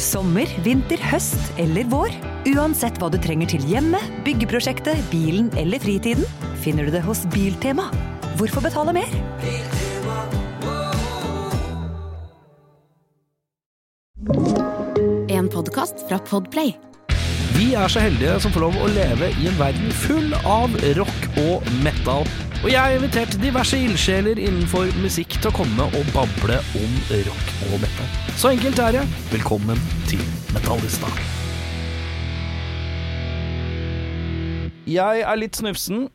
Sommer, vinter, høst eller vår. Uansett hva du trenger til hjemmet, byggeprosjektet, bilen eller fritiden, finner du det hos Biltema. Hvorfor betale mer? En podkast fra Podplay. Vi er så heldige som får lov å leve i en verden full av rock og metal. Og jeg har invitert diverse ildsjeler innenfor musikk til å komme og bable om rock og metal. Så enkelt er det. Velkommen til Metallista. Jeg er litt snufsen.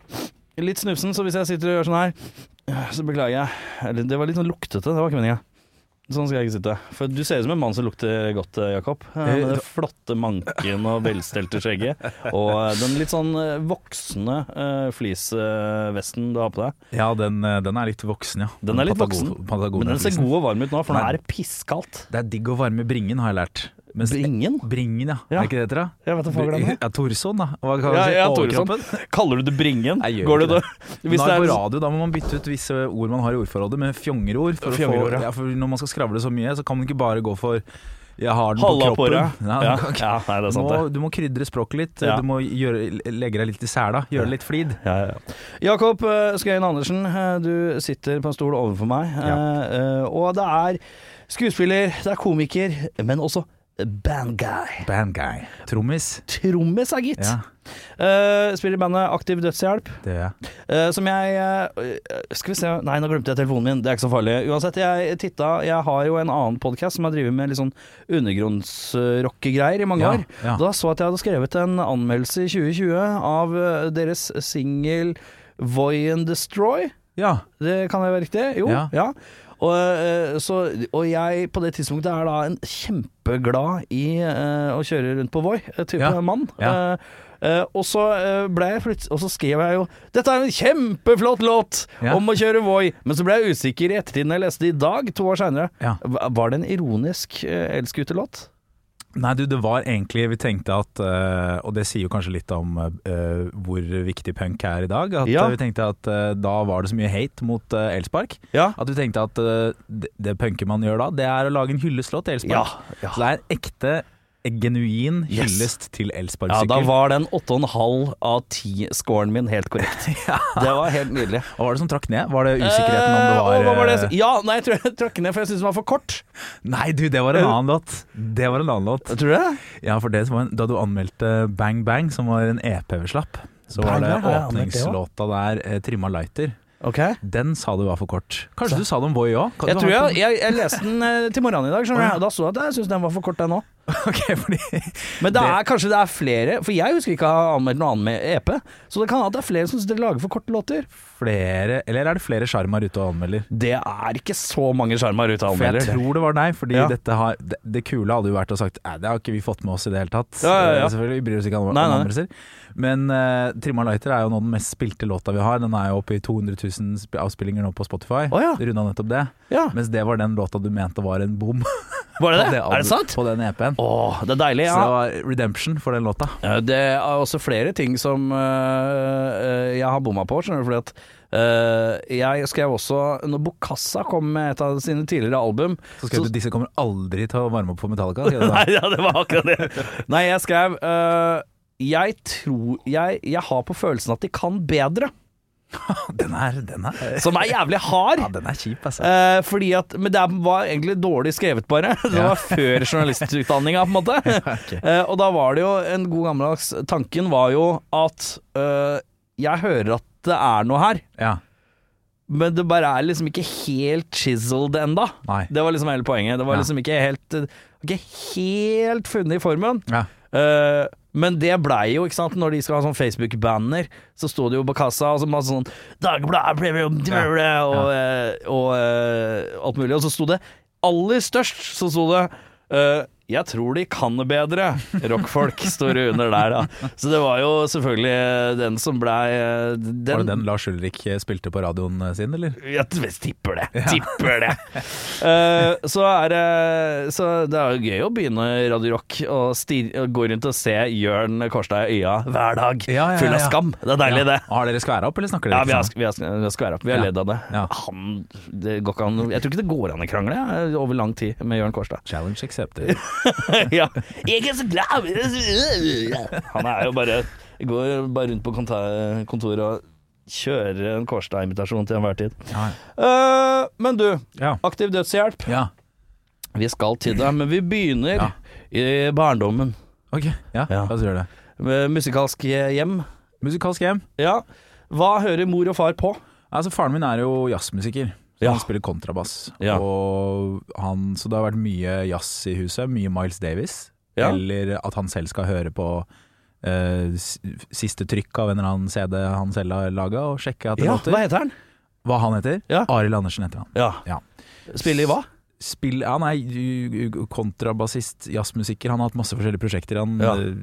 Litt snufsen, så hvis jeg sitter og gjør sånn her, så beklager jeg. Eller, Det var litt sånn luktete, det var ikke meninga. Sånn skal jeg ikke sitte. For du ser ut som en mann som lukter godt, eh, Jakob. Eh, Med den flotte manken og velstelte skjegget. Og eh, den litt sånn eh, voksne eh, fleecevesten du har på deg. Ja, den, eh, den er litt voksen, ja. Den er litt Patagon- voksen, Patagonia-flisen. Men den ser god og varm ut nå, for nå Nei. er det pisskaldt. Det er digg å varme bringen, har jeg lært. Mens- Bringen? Bringen, ja. Ja. Er ikke det det heter, da? Jeg vet da faen hva det er. Ja, Torsson, da. Hva Ja, kan man si? ja, Overkroppen? Toresson. Kaller du det bringen? Jeg gjør Går ikke det da? det. Hvis det Nå er det er på radio, da må man bytte ut visse ord man har i ordforrådet med fjongerord. For, å Fjongerord, få, ja. ja, for når man skal skravle så mye, så kan man ikke bare gå for 'jeg har den halla på på kroppen'. deg. Ja, Ja, du kan ikke- ja, nei, det er sant, det. må, du må krydre språket litt. Ja. Du må gjøre, legge deg litt i sela. Gjøre litt flid. Ja, ja, ja. Jakob eh, Skøyen Andersen, eh, du sitter på en stol overfor meg. eh, eh, Og det er skuespiller, det er komiker, men også bandguy. Band guy. Trommis. Trommis er gitt. Ja, Eh, spiller i bandet Aktiv Dødshjelp, det gjør jeg. eh, som jeg eh, Skal vi se Nei, nå glemte jeg telefonen min, det er ikke så farlig. Uansett, jeg titta Jeg har jo en annen podkast som har drevet med litt sånn undergrunnsrockegreier i mange Ja, år. ja. Da så jeg at jeg hadde skrevet en anmeldelse i 2020 av eh, deres singel Voy and Destroy. Ja. Det kan det være riktig? Jo. Ja. Ja. Og, eh, så, og jeg på det tidspunktet er da en kjempeglad i eh, å kjøre rundt på Voi, eh, type Ja. mann. Ja. Eh, eh, og så eh, ble jeg plutselig Og så skrev jeg jo 'Dette er en kjempeflott låt Ja. om å kjøre Voi', men så ble jeg usikker i ettertid når jeg leste det i dag, to år seinere. Ja. Var det en ironisk eh, elskutelåt? Nei, du, det var egentlig Vi tenkte at eh, Og det sier jo kanskje litt om eh, hvor viktig punk er i dag. At Ja. eh, Vi tenkte at eh, da var det så mye hate mot eh, elspark. Ja. At du tenkte at eh, det, det punker man gjør da, det er å lage en hyllestlåt til Ja. elspark. ja. Så det er en ekte, en genuin Yes. hyllest til Ja, da elsparkesykkel. var den 8,5 av 10-scoren min helt korrekt. Det var helt nydelig. Hva var det som trakk ned? Var det usikkerheten om Eh, det var, og hva var det? eh, Ja, nei, jeg tror jeg trakk ned, for jeg syntes den var for kort. Nei, du, det Eh. var en annen låt. Det var en annen låt. Tror du det? Ja, for det som var en, Da du anmeldte Bang Bang, som var en EP vi slapp, så Bang var det Bang, har jeg anmeldt det også? åpningslåta der, eh, Trimma Lighter. Ok. Den sa du var for kort. Kanskje du sa det om Voi òg? Jeg tror jeg, jeg, jeg leste den eh, til morgenen i dag, skjønner jeg. og Da så jeg at jeg syntes den var for kort, den òg. Ok, fordi Men det Det- er, kanskje det er flere, for jeg husker ikke å ha anmeldt noe annet med EP. Så det kan hende at det er flere som syns dere lager for korte låter. flere Eller er det flere sjarmer ute og anmelder? Det er ikke så mange sjarmer ute av For jeg anmelder. tror det var deg, fordi Ja. dette har, det, det kule hadde jo vært å sagt Nei, det har ikke vi fått med oss i det hele tatt. Ja, ja, ja. Eh, Selvfølgelig, vi bryr oss ikke om, om Nei, nei. anmeldelser. Men eh, Trimma Lighter er jo nå den mest spilte låta vi har. Den er jo oppe i 200 000 sp- avspillinger nå på Spotify. Å, ja. Det Runda nettopp det. Ja, Mens det var den låta du mente var en bom. Var det det? på det Er det albu- sant? På den EP-en. Å, det er deilig. Så Ja. det var redemption for den låta. Eh, Det er også flere ting som eh, eh, jeg har bomma på, skjønner du. Fordi at eh, jeg skrev også Når Bokassa kom med et av sine tidligere album Så skrev så- du disse kommer aldri til å varme opp for Metallica. skrev du da. Nei, ja, det var akkurat det. Nei, jeg skrev øh, Jeg tror jeg, jeg har på følelsen at de kan bedre. Den er, den er, Som er jævlig hard. ja, den er kjip, altså. Eh, fordi at, men det var egentlig dårlig skrevet, bare. Det Ja. var før journalistutdanninga, på en måte. Eh, og da var det jo en god gammeldags Tanken var jo at øh, jeg hører at det er noe her, Ja, men det bare er liksom ikke helt chiseled enda. nei. Det var liksom hele poenget. Det var Ja. liksom ikke helt, ikke helt funnet i formen. Ja. Eh, men det blei jo, ikke sant Når de skal ha sånn Facebook-banner, så sto det jo på kassa og så masse sånn Dagbladet ble- ble- ble- ble- ble», og, eh, og eh, alt mulig. Og så sto det aller størst, så sto det eh, jeg tror de kan det bedre. Rockfolk står det under der, da. Så det var jo selvfølgelig eh, den som blei eh, Var det den Lars Ulrik eh, spilte på radioen eh, sin, eller? jeg t- tipper det. Tipper det. Eh, så er det Så det er jo gøy å begynne Radio Rock og, stir, og gå rundt og se Jørn Kårstad i øya hver dag. Ja, ja, ja, Full av ja. skam. Det er deilig, Ja. det. Har dere skværa opp, eller snakker Ja, dere vi har, ikke sånn? sk- vi har, sk- vi har skværa opp. Vi har Ja. ledd av det. Ja. Han det går ikke an Jeg tror ikke det går an å krangle jeg, over lang tid med Jørn Kårstad. Challenge accepted. ja. Jeg er så glad Han er jo bare Går bare rundt på konta- kontoret og kjører en Kårstad-invitasjon til enhver tid. Ja. Eh, men du, Ja. aktiv dødshjelp. ja. Vi skal til deg, men vi begynner Ja. i barndommen. Ok, ja, Ja. la oss gjøre det. Med Musikalsk hjem. Musikalsk hjem. Ja. Hva hører mor og far på? Altså, faren min er jo jazzmusiker. Så Ja. Han spiller kontrabass. Ja. Og han, så det har vært mye jazz i huset. Mye Miles Davis. Ja. Eller at han selv skal høre på eh, s- siste trykk av en eller annen CD han selv har laga, og sjekke at det Ja, låter. hva heter han? Hva han heter? Ja. Arild Andersen heter han. Ja. Ja. Spiller i hva? Spill, han er ju- ju- kontrabassist, jazzmusiker. Han har hatt masse forskjellige prosjekter. Han Ja. eh,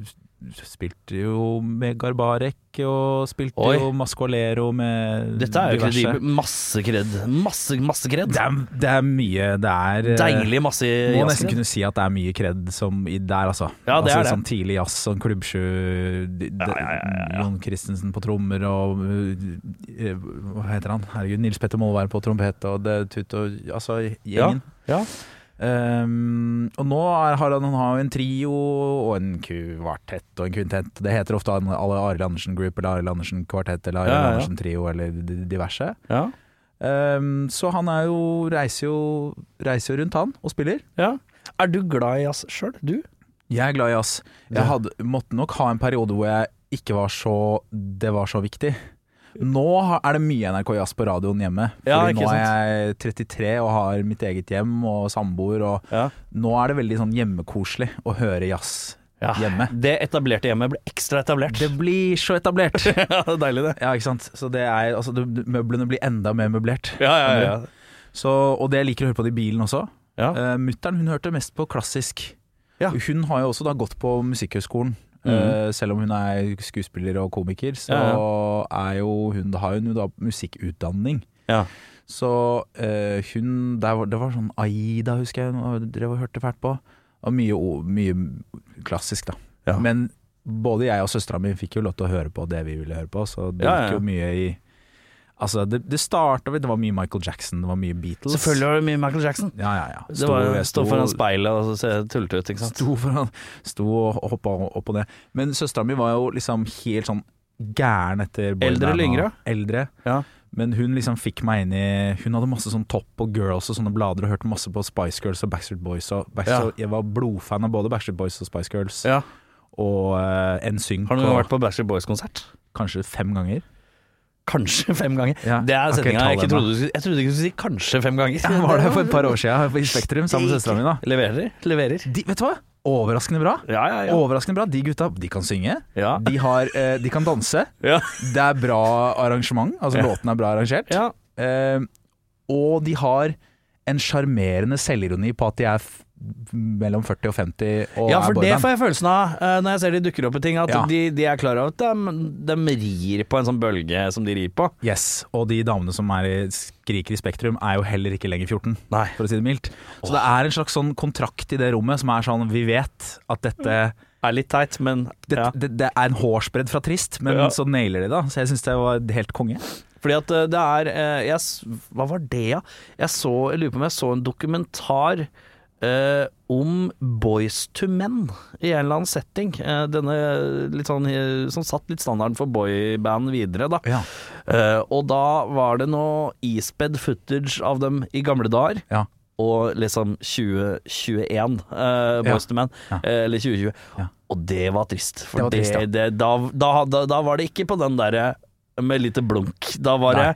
spilte jo med Garbarek, og spilte Oi. jo Mascolero med Dette er jo diverse. kredibel. Masse kred. Masse, masse kred. Det er, det er mye Det er eh, Deilig masse Må jazzkred. nesten kunne si at det er mye kred som i der, altså. Ja, det altså er det. Sånn tidlig jazz, sånn klubbsju de- de- Jon Christensen på trommer og eh, Hva heter han? Herregud, Nils Petter Molvær på trompet og det tut og Altså gjengen. Ja. Ehm, og nå er, har han, han har jo en trio og en kvartett og en kvintett. Det heter ofte alle Arild Andersen Group eller Arild Andersen Kvartett eller Arild Ja, ja, ja. Andersen Trio eller d- diverse. Ja. Ehm, så han er jo reiser, jo reiser jo rundt, han, og spiller. ja. Er du glad i jazz sjøl, du? Jeg er glad i jazz. Jeg hadde, måtte nok ha en periode hvor jeg ikke var så Det var så viktig. Nå har- er det mye NRK Jazz på radioen hjemme. Fordi Ja, ikke nå er jeg 33 og har mitt eget hjem og samboer, og Ja. nå er det veldig sånn hjemmekoselig å høre jazz Ah. hjemme. Det etablerte hjemmet ble ekstra etablert. Det blir så etablert! ja, det er deilig, det. ja, ikke sant. Så det er Altså, det, møblene blir enda mer møblert. Ja, ja, ja. Så, og det jeg liker å høre på det i bilen også. Ja. Eh, Mutteren hun hørte mest på klassisk. Ja. Hun har jo også da gått på Musikkhøgskolen. Mhm. Eh, selv om hun er skuespiller og komiker, så Ja, er jo hun, har hun jo da musikkutdanning. Ja. Så eh, hun der var, Det var sånn Aida, husker jeg, hun drev og hørte fælt på. Og mye, o- mye klassisk, da. Ja. Men både jeg og søstera mi fikk jo lov til å høre på det vi ville høre på, så det Ja, ja, gikk jo mye i Altså, det, det starta Det var mye Michael Jackson, det var mye Beatles. Selvfølgelig var det mye Michael Jackson. Ja, ja, ja. det var jo jeg Stå foran speilet og se tullete ut, ikke sant. sto foran Sto og hoppa opp og ned. Men søstera mi var jo liksom helt sånn gæren etter boyband Eldre eller og- yngre? Eldre. Ja. Men hun liksom fikk meg inn i Hun hadde masse sånn Topp og Girls og sånne blader og hørte masse på Spice Girls og Backstreet Boys. Og Backstreet, Ja. Jeg var blodfan av både Backstreet Boys og Spice Girls Ja. og uh, NSYNC. Har du noen gang og- vært på Backstreet Boys-konsert? Kanskje fem ganger. Kanskje fem ganger. Ja, Det er har ikke setninga jeg tall ikke ennå. trodde du skulle Jeg trodde ikke du skulle si 'kanskje fem ganger'. Jeg var der for et par år siden i Spektrum sammen med søstera mi. da Leverer. Leverer. de, Vet du hva? Overraskende bra. Ja, ja, ja. Overraskende bra. De gutta, de kan synge. ja. De, har, eh, de kan danse. ja. Det er bra arrangement, altså Ja. låten er bra arrangert. ja. Eh, og de har en sjarmerende selvironi på at de er f mellom 40 og 50 og Ja, for er det boyband. får jeg følelsen av eh, når jeg ser de dukker opp i ting, at Ja. de, de er klar over at de, de rir på en sånn bølge som de rir på. Yes, og de damene som er i, skriker i Spektrum er jo heller ikke lenger 14, Nei. for å si det mildt. Så det er en slags sånn kontrakt i det rommet som er sånn vi vet at dette Er litt teit, men det, ja. det, det er en hårsbredd fra trist, men Ja. så nailer de det. Så jeg syns det var helt konge. Fordi at eh, det er eh, jeg, s- Hva var det, ja? Jeg, så, jeg lurer på om jeg så en dokumentar eh, om Boys to Men i en eller annen setting. Eh, denne litt sånn, eh, som satt litt standarden for boyband videre, da. Ja. Eh, og da var det noe ispedd footage av dem i gamle dager. Ja. Og liksom 2021, eh, Boyz II Men. Ja. eh, eller 2020. Ja. Og det var trist. For Det det var trist, ja. det, da, da, da, da var det ikke på den derre med lite blunk. Da var Nei. det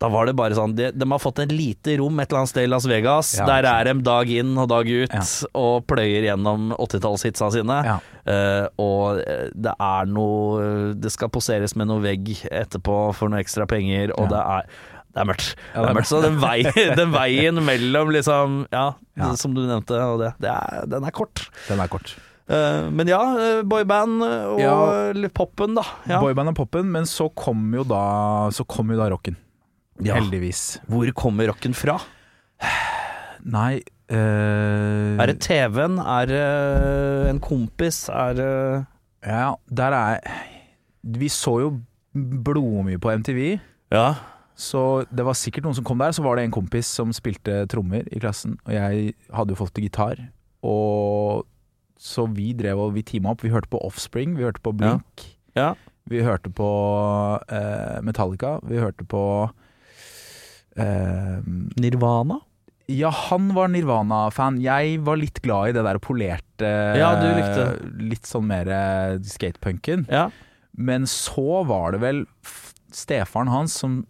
da var det bare sånn De, de har fått et lite rom et eller annet sted i Las Vegas. Ja, Der sant. er de dag inn og dag ut Ja. og pløyer gjennom 80-tallshitsa sine. Ja. Eh, og eh, det er noe Det skal poseres med noe vegg etterpå for noe ekstra penger, og det er det er mørkt. Ja, det er det er mørkt. Så den, vei, den veien mellom liksom Ja, Ja. som du nevnte, og det, det er, den er kort. Den er kort. Eh, men ja, eh, boyband og Ja. litt popen, da. Ja. Boyband og poppen, men så kom jo da, så kom jo da rocken. Ja. Heldigvis. Hvor kommer rocken fra? Nei eh, Er det TV-en? Er det en kompis? Er eh, det Ja, der er Vi så jo blodmye på MTV. Ja. Så det var sikkert noen som kom der. Så var det en kompis som spilte trommer i klassen, og jeg hadde jo fått til gitar. Og Så vi drev og vi teama opp. Vi hørte på Offspring, vi hørte på Blink. Ja. Vi hørte på eh, Metallica. Vi hørte på eh, Nirvana? Ja, han var Nirvana-fan. Jeg var litt glad i det der polerte Ja, du likte. Litt sånn mer eh, skatepunken. Ja. Men så var det vel f- stefaren hans som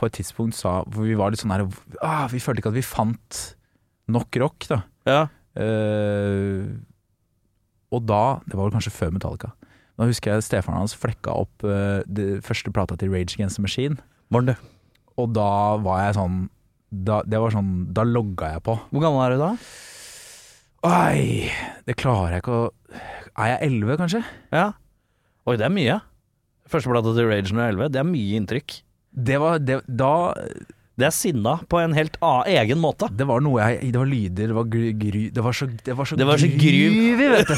på et tidspunkt sa For vi var litt sånn her ah, Vi følte ikke at vi fant nok rock, da. ja. Eh, og da Det var vel kanskje før Metallica. Da husker jeg stefaren hans flekka opp eh, det første plata til Rage Against the Machine, Var den det? og da var jeg sånn da, det var sånn, da logga jeg på. Hvor gammel er du da? Oi, det klarer jeg ikke å Er jeg elleve, kanskje? Ja. Oi, det er mye. Første plata til Rage når jeg er 11. Det er mye inntrykk. Det var, det, da, Det er sinna på en helt annen, egen måte. Det var noe jeg Det var lyder, det var gru, gru Det var så, det var så, Det var så groovy, vet du.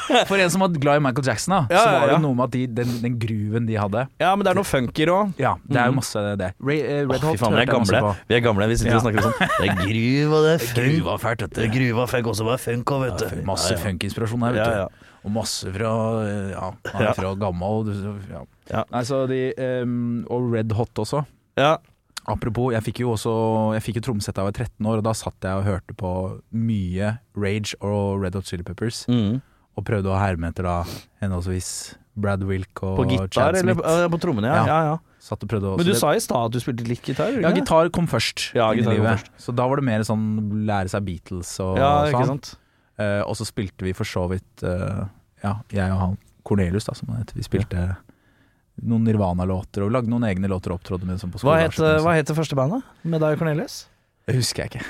For en som var glad i Michael Jackson, da, Ja, så ja, var det ja. noe med at de, den, den gruven de hadde Ja, men det er noe funker òg. Ja, det er jo masse det. Ray, eh, Red Mhm. Fy Hot faen, vi er hørte jeg masse gamle. på. Vi er gamle, vi sitter Ja. og snakker sånn. Det er gruv og det er funk. Gruva fælt, Det er dette. gruv og funk, og så var det funk òg, vet du. Masse Ja, ja. funkinspirasjon her, vet du. Ja, ja. Og masse fra eh, Ja, han Ja. er fra gammel du- ja. Ja. Nei, så de ehm, Og Red Hot også. Ja. Apropos, jeg fikk jo også Jeg fikk jo trommesett da jeg var 13 år, og da satt jeg og hørte på mye Rage og Red Hot Chili Peppers. Mm. og prøvde å herme etter da henholdsvis Brad Wilk og På Chad gitar Smith. eller ja, på trommene, ja. Ja. ja, ja. Satt og prøvde å- Men så du det- sa i stad at du spilte litt gitar? gjorde Ja, du ikke? gitar kom først. Ja, inn i gitar kom livet. først. Så da var det mer sånn lære seg Beatles og Ja, ikke sånn. sant? Eh, og så spilte vi for så vidt eh, Ja, jeg og han Cornelius, da, som han heter. Vi spilte noen Nirvana-låter og lagde noen egne låter og opptrådte med sånn på Hva het, eh, skoleavslutning og hva sånn. het det første bandet med deg og Cornelius? Det husker jeg ikke.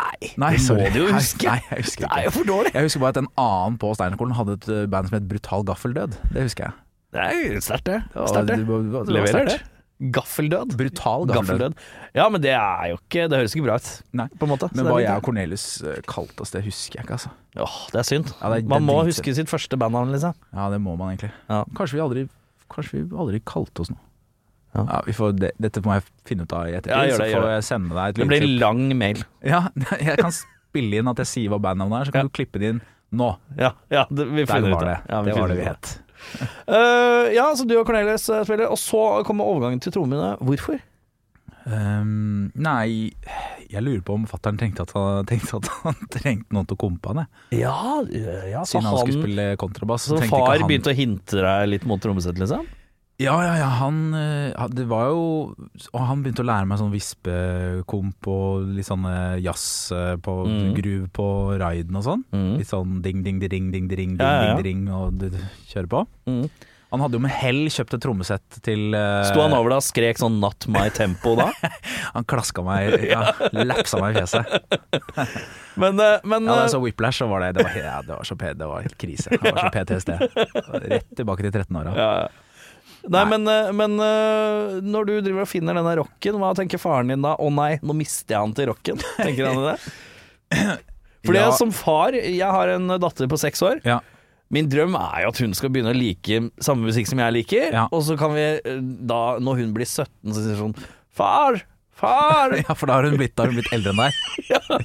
Nei, det må sorry. du jo huske. Nei, jeg husker ikke. for dårlig! Jeg husker bare at en annen på Steinerskolen hadde et eh, band som het Brutal Gaffeldød. Det husker jeg. Det er jo sterkt, det. Det var- Sterkt, det det. var- det var Leverer sterkt. det. Gaffeldød. Brutal gaffeldød. Gaffeldød. Ja, men det er jo ikke Det høres ikke bra ut, Nei. på en måte. Så Men det er hva litt- jeg og Cornelius eh, kalte oss, det husker jeg ikke, altså. Åh, det er synd. Ja, det er- det er Man må dritsynd. huske sitt første bandnavn, liksom. Ja, det må man egentlig. Ja. Kanskje vi aldri Kanskje vi aldri kalte oss noe. Ja. Ja. vi får, det, dette må jeg finne ut av i ettertid, Ja, gjør så det, gjør får det. jeg sende deg et Det blir lydklipp. lang mail. Ja, jeg kan spille inn at jeg sier hva bandnavnet er, så kan Ja. du klippe det inn nå. Ja, ja det, vi Der finner ut var det. Ja, det finner var det vi ut av het. Eh, ja, så du og Cornelius eh, spiller, og så kommer overgangen til trommene. Hvorfor? Ehm, nei, jeg lurer på om fattern tenkte, at han- tenkte at han trengte noen til å kompe han, jeg. Ja, ja så Siden eh, han, altså, skulle han spille kontrabass. så tenkte ikke far han- begynte å hinte deg litt mot trommesett, liksom? Ja, ja, ja. Han eh, han- Det var jo Og han begynte å lære meg sånn vispekomp og litt sånn eh, jazz eh, på Mm. groove på riden og sånn. Mm. Litt sånn ding, ding, ding, ding, ding, ding, ding, Ja, ja, ja. ding, ding og du, du kjører på. Mm. Han hadde jo med hell kjøpt et trommesett til eh, Sto han over deg og skrek sånn 'not my tempo' da? Han klaska meg, ja, lapsa meg i fjeset. Men, eh, men Ja, da eh, jeg så Whiplash, så var det Det var, ja, det var så p- det var helt krise. Det var så PTSD. Rett tilbake til 13-åra. ja. Nei, men, eh, men eh, når du driver og finner denne rocken, hva tenker faren din da? 'Å nei, nå mister jeg han til rocken'. Tenker han det? Fordi Ja. jeg som far, jeg har en datter på seks år. Ja. Min drøm er jo at hun skal begynne å like samme musikk som jeg liker, Ja. og så kan vi eh, da, når hun blir 17, så sier hun sånn Far! Far! ja, for da har hun blitt, da har hun blitt eldre enn deg.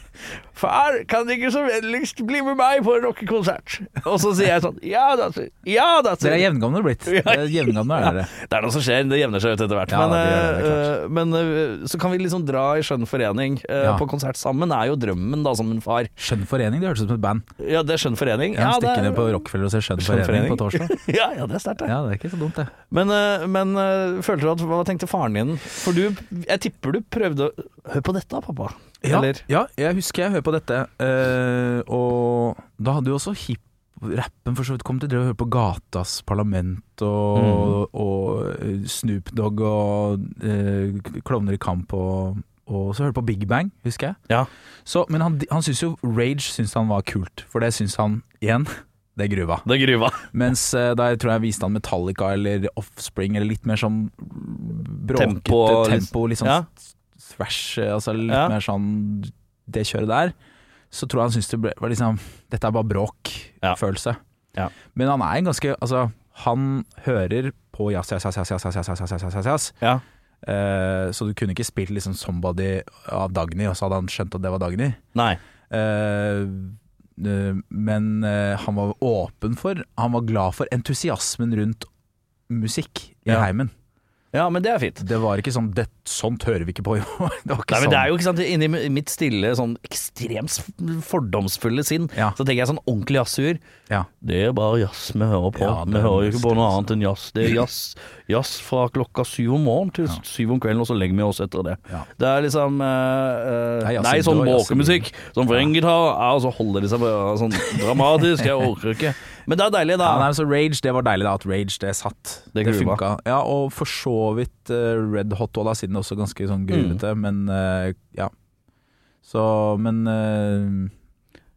Far, kan du ikke så vennligst bli med meg på en rockekonsert? Og så sier jeg sånn Ja, datter. Ja, datter. Dere er jevngamle blitt. Dere er Jevngamle er dere. Det er noe som skjer, det jevner seg ut etter hvert. Ja, men, det gjør det, det er eh, eh, men eh, så kan vi liksom dra i skjønn forening eh, Ja. på konsert sammen, er jo drømmen da, som en far. Skjønn forening, det hørtes ut som et band. Ja, det er skjønn forening. Ja, Ja, det Stikke er- ned på Rockefeller og se Skjønn Skjønn forening forening. på torsdag. ja, ja, det er sterkt, det. Ja, det er ikke så dumt, det. Men, eh, men eh, følte du at Hva tenkte faren din? For du, jeg tipper du prøvde å Hør på dette da, pappa. Ja, Eller ja jeg husker jeg hører på dette, eh, og da hadde jo også hip Rappen for så vidt kom til å høre på Gatas Parlament og, Mm. og eh, Snoop Dogg og eh, Klovner i kamp og, og så hørte på Big Bang, husker jeg. Ja. Så, men han, han syntes jo Rage syntes han var kult, for det syns han igjen. Det er gruva. Det gruva. Mens eh, der tror jeg viste han Metallica eller Offspring, eller litt mer sånn bråkete tempo, Tempo og- litt sånn Ja. thrash, eh, altså litt Ja. mer sånn det kjøret der. Så tror jeg han syntes det ble, var liksom Dette er bare Ja. bråk-følelse. Ja. Men han er en ganske Altså, han hører på jazz, jazz, jazz, jazz, jazz, jazz, jazz, jazz, jazz, jazz, jazz. Ja. Eh, så du kunne ikke spilt liksom 'Somebody' av Dagny, og så hadde han skjønt at det var Dagny. Nei. Eh, eh, men eh, han var åpen for Han var glad for entusiasmen rundt musikk i Ja. heimen. Ja, men det er fint. Det var ikke sånn det, 'sånt hører vi ikke på'. i år». det var ikke Nei, men sånn. det er jo ikke sant, Inni mitt stille, sånn ekstremt s- fordomsfulle sinn, Ja. så tenker jeg sånn ordentlig jazzur. Ja. Det er bare jazz vi hører på. Ja, det vi er hører jo ikke på noe mest annet enn jazz. Det er jazz, jazz fra klokka syv om morgenen til syv om kvelden, og så legger vi oss etter det. Ja. Det er liksom eh, eh, Det er jazz Nei, sånn inne og jazz bråkemusikk. Sånn frengitar, ja, og så holder de seg bare sånn dramatisk. Jeg orker ikke. Men det er deilig, da. Ja, nei, så Rage, det var deilig da, at Rage det satt. Det groova. funka. Ja, og for så vidt eh, Red Hot og da siden også ganske sånn gruvete, men eh, ja. Så, men eh,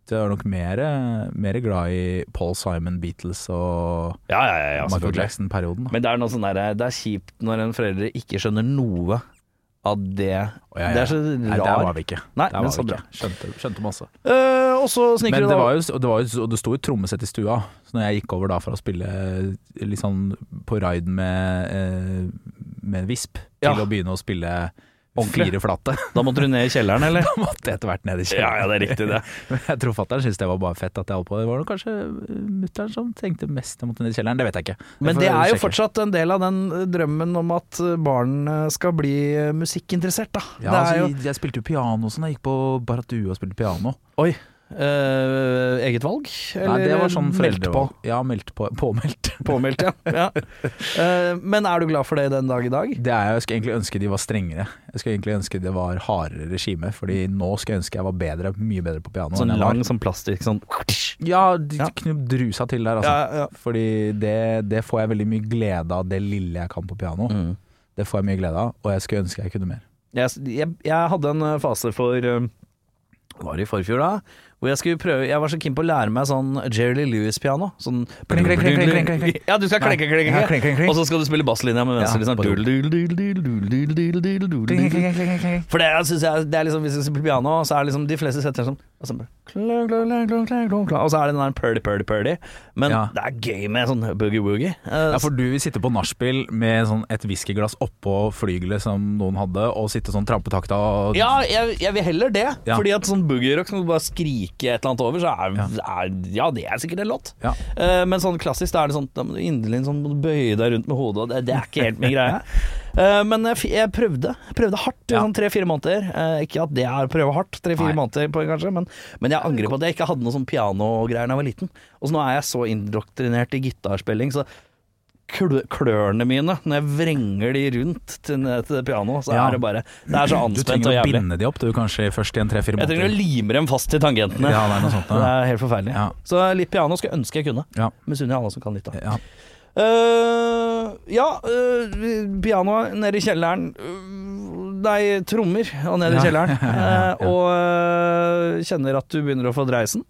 det er nok mer, mer glad i Paul Simon, Beatles og ja, ja, ja, ja Michael selvfølgelig. Jackson-perioden. da. Men det er, noe sånn der, det er kjipt når en forelder ikke skjønner noe av det. Å, ja, ja. Det er så Nei, der var rar. vi ikke. Nei, der men var så vi bra. ikke. Skjønte, skjønte masse. Eh, og så sniker Men du det da var jo, og det, var jo, og det sto jo trommesett i stua, så når jeg gikk over da for å spille litt sånn på raiden med, eh, med en visp, til Ja. å begynne å spille Ordentlig. fire flate, Da måtte du ned i kjelleren, eller? da måtte jeg etter hvert ned i ja, kjelleren. ja, det er riktig, det. Men jeg tror fatter'n syntes det var bare fett at jeg holdt på. Det var nok kanskje eh, mutter'n som tenkte mest jeg måtte ned i kjelleren, det vet jeg ikke. Men får det er jo sjekke. fortsatt en del av den eh, drømmen om at eh, barn eh, skal bli eh, musikkinteressert, da. ja, det er altså, jo Jeg spilte jo piano og sånn, jeg gikk på Baratua og spilte piano. Oi. eh, eget valg? Nei, det var sånn meldt foreldre på? Ja, meldt på. Påmeldt. Påmeldt, ja. ja. Eh, men er du glad for det den dag i dag? Det er, jeg skulle egentlig ønske de var strengere. Jeg skulle egentlig ønske det var hardere regime, Fordi nå skulle jeg ønske jeg var bedre, mye bedre på piano. Sånn enn jeg lang var. sånn plastikk sånn Ja, de Ja. knubb drusa til der, altså. ja, ja. Fordi det, det får jeg veldig mye glede av, det lille jeg kan på piano. Mm. Det får jeg mye glede av, og jeg skulle ønske jeg kunne mer. jeg, jeg, jeg hadde en eh, fase for eh, Var det i forfjor da? Hvor jeg skulle prøve Jeg var så keen på å lære meg sånn Jerry Lee Lewis-piano. Sånn Kling, kling, kling, kling, kling, kling. Ja, du skal Nei. klenke, klenke, Ja, kling, kling, kling. Og så skal du spille basslinja med venstre. Ja, liksom. bare- Dul, dul, dul, dul, dul, dul, dul, dul, dul. For det er, synes jeg, det er liksom Hvis du spiller piano, så er liksom de fleste setter seg sånn og så bare klang, klang, klang, klang, klang, klang, klang. Og så er det den der purdy, purdy, purdy. Men Ja. det er gøy med sånn boogie-woogie. Eh, Ja, for du vil sitte på nachspiel med sånn et whiskyglass oppå flygelet som noen hadde, og sitte sånn trampetakta og Ja, jeg, jeg vil heller det. Ja. Fordi at sånn boogie-rock som du bare skriker et eller annet over, så er ja, er, ja det er sikkert en låt. Ja. Eh, men sånn klassisk, da er det sånn da må du inderlig sånn, må du bøye deg rundt med hodet, og det, det er ikke helt min greie. Eh, men jeg, f- jeg prøvde. Jeg Prøvde hardt i Ja. sånn tre-fire måneder. Eh, ikke at det er å prøve hardt, tre-fire Nei. måneder, på, kanskje, men, men jeg angrer på at jeg ikke hadde noe sånn pianogreier da jeg var liten. Og så nå er jeg så indoktrinert i gitarspilling, så klø- klørne mine, når jeg vrenger de rundt til, til pianoet, så Ja. er det bare Det er så Du anspent trenger og å jævlig. binde de opp, du, kanskje først i en tre-fire Jeg trenger å måneder. lime dem fast til tangentene. Ja, det er noe sånt, ja. Det er helt forferdelig. Ja. Så litt piano skulle jeg ønske jeg kunne. Ja. Misunner jeg alle som kan litt, da. Ja. Eh, ja, eh, piano nede i kjelleren eh, Nei, trommer og nede i Ja. kjelleren. Ja. Eh, og eh, kjenner at du begynner å få dreisen.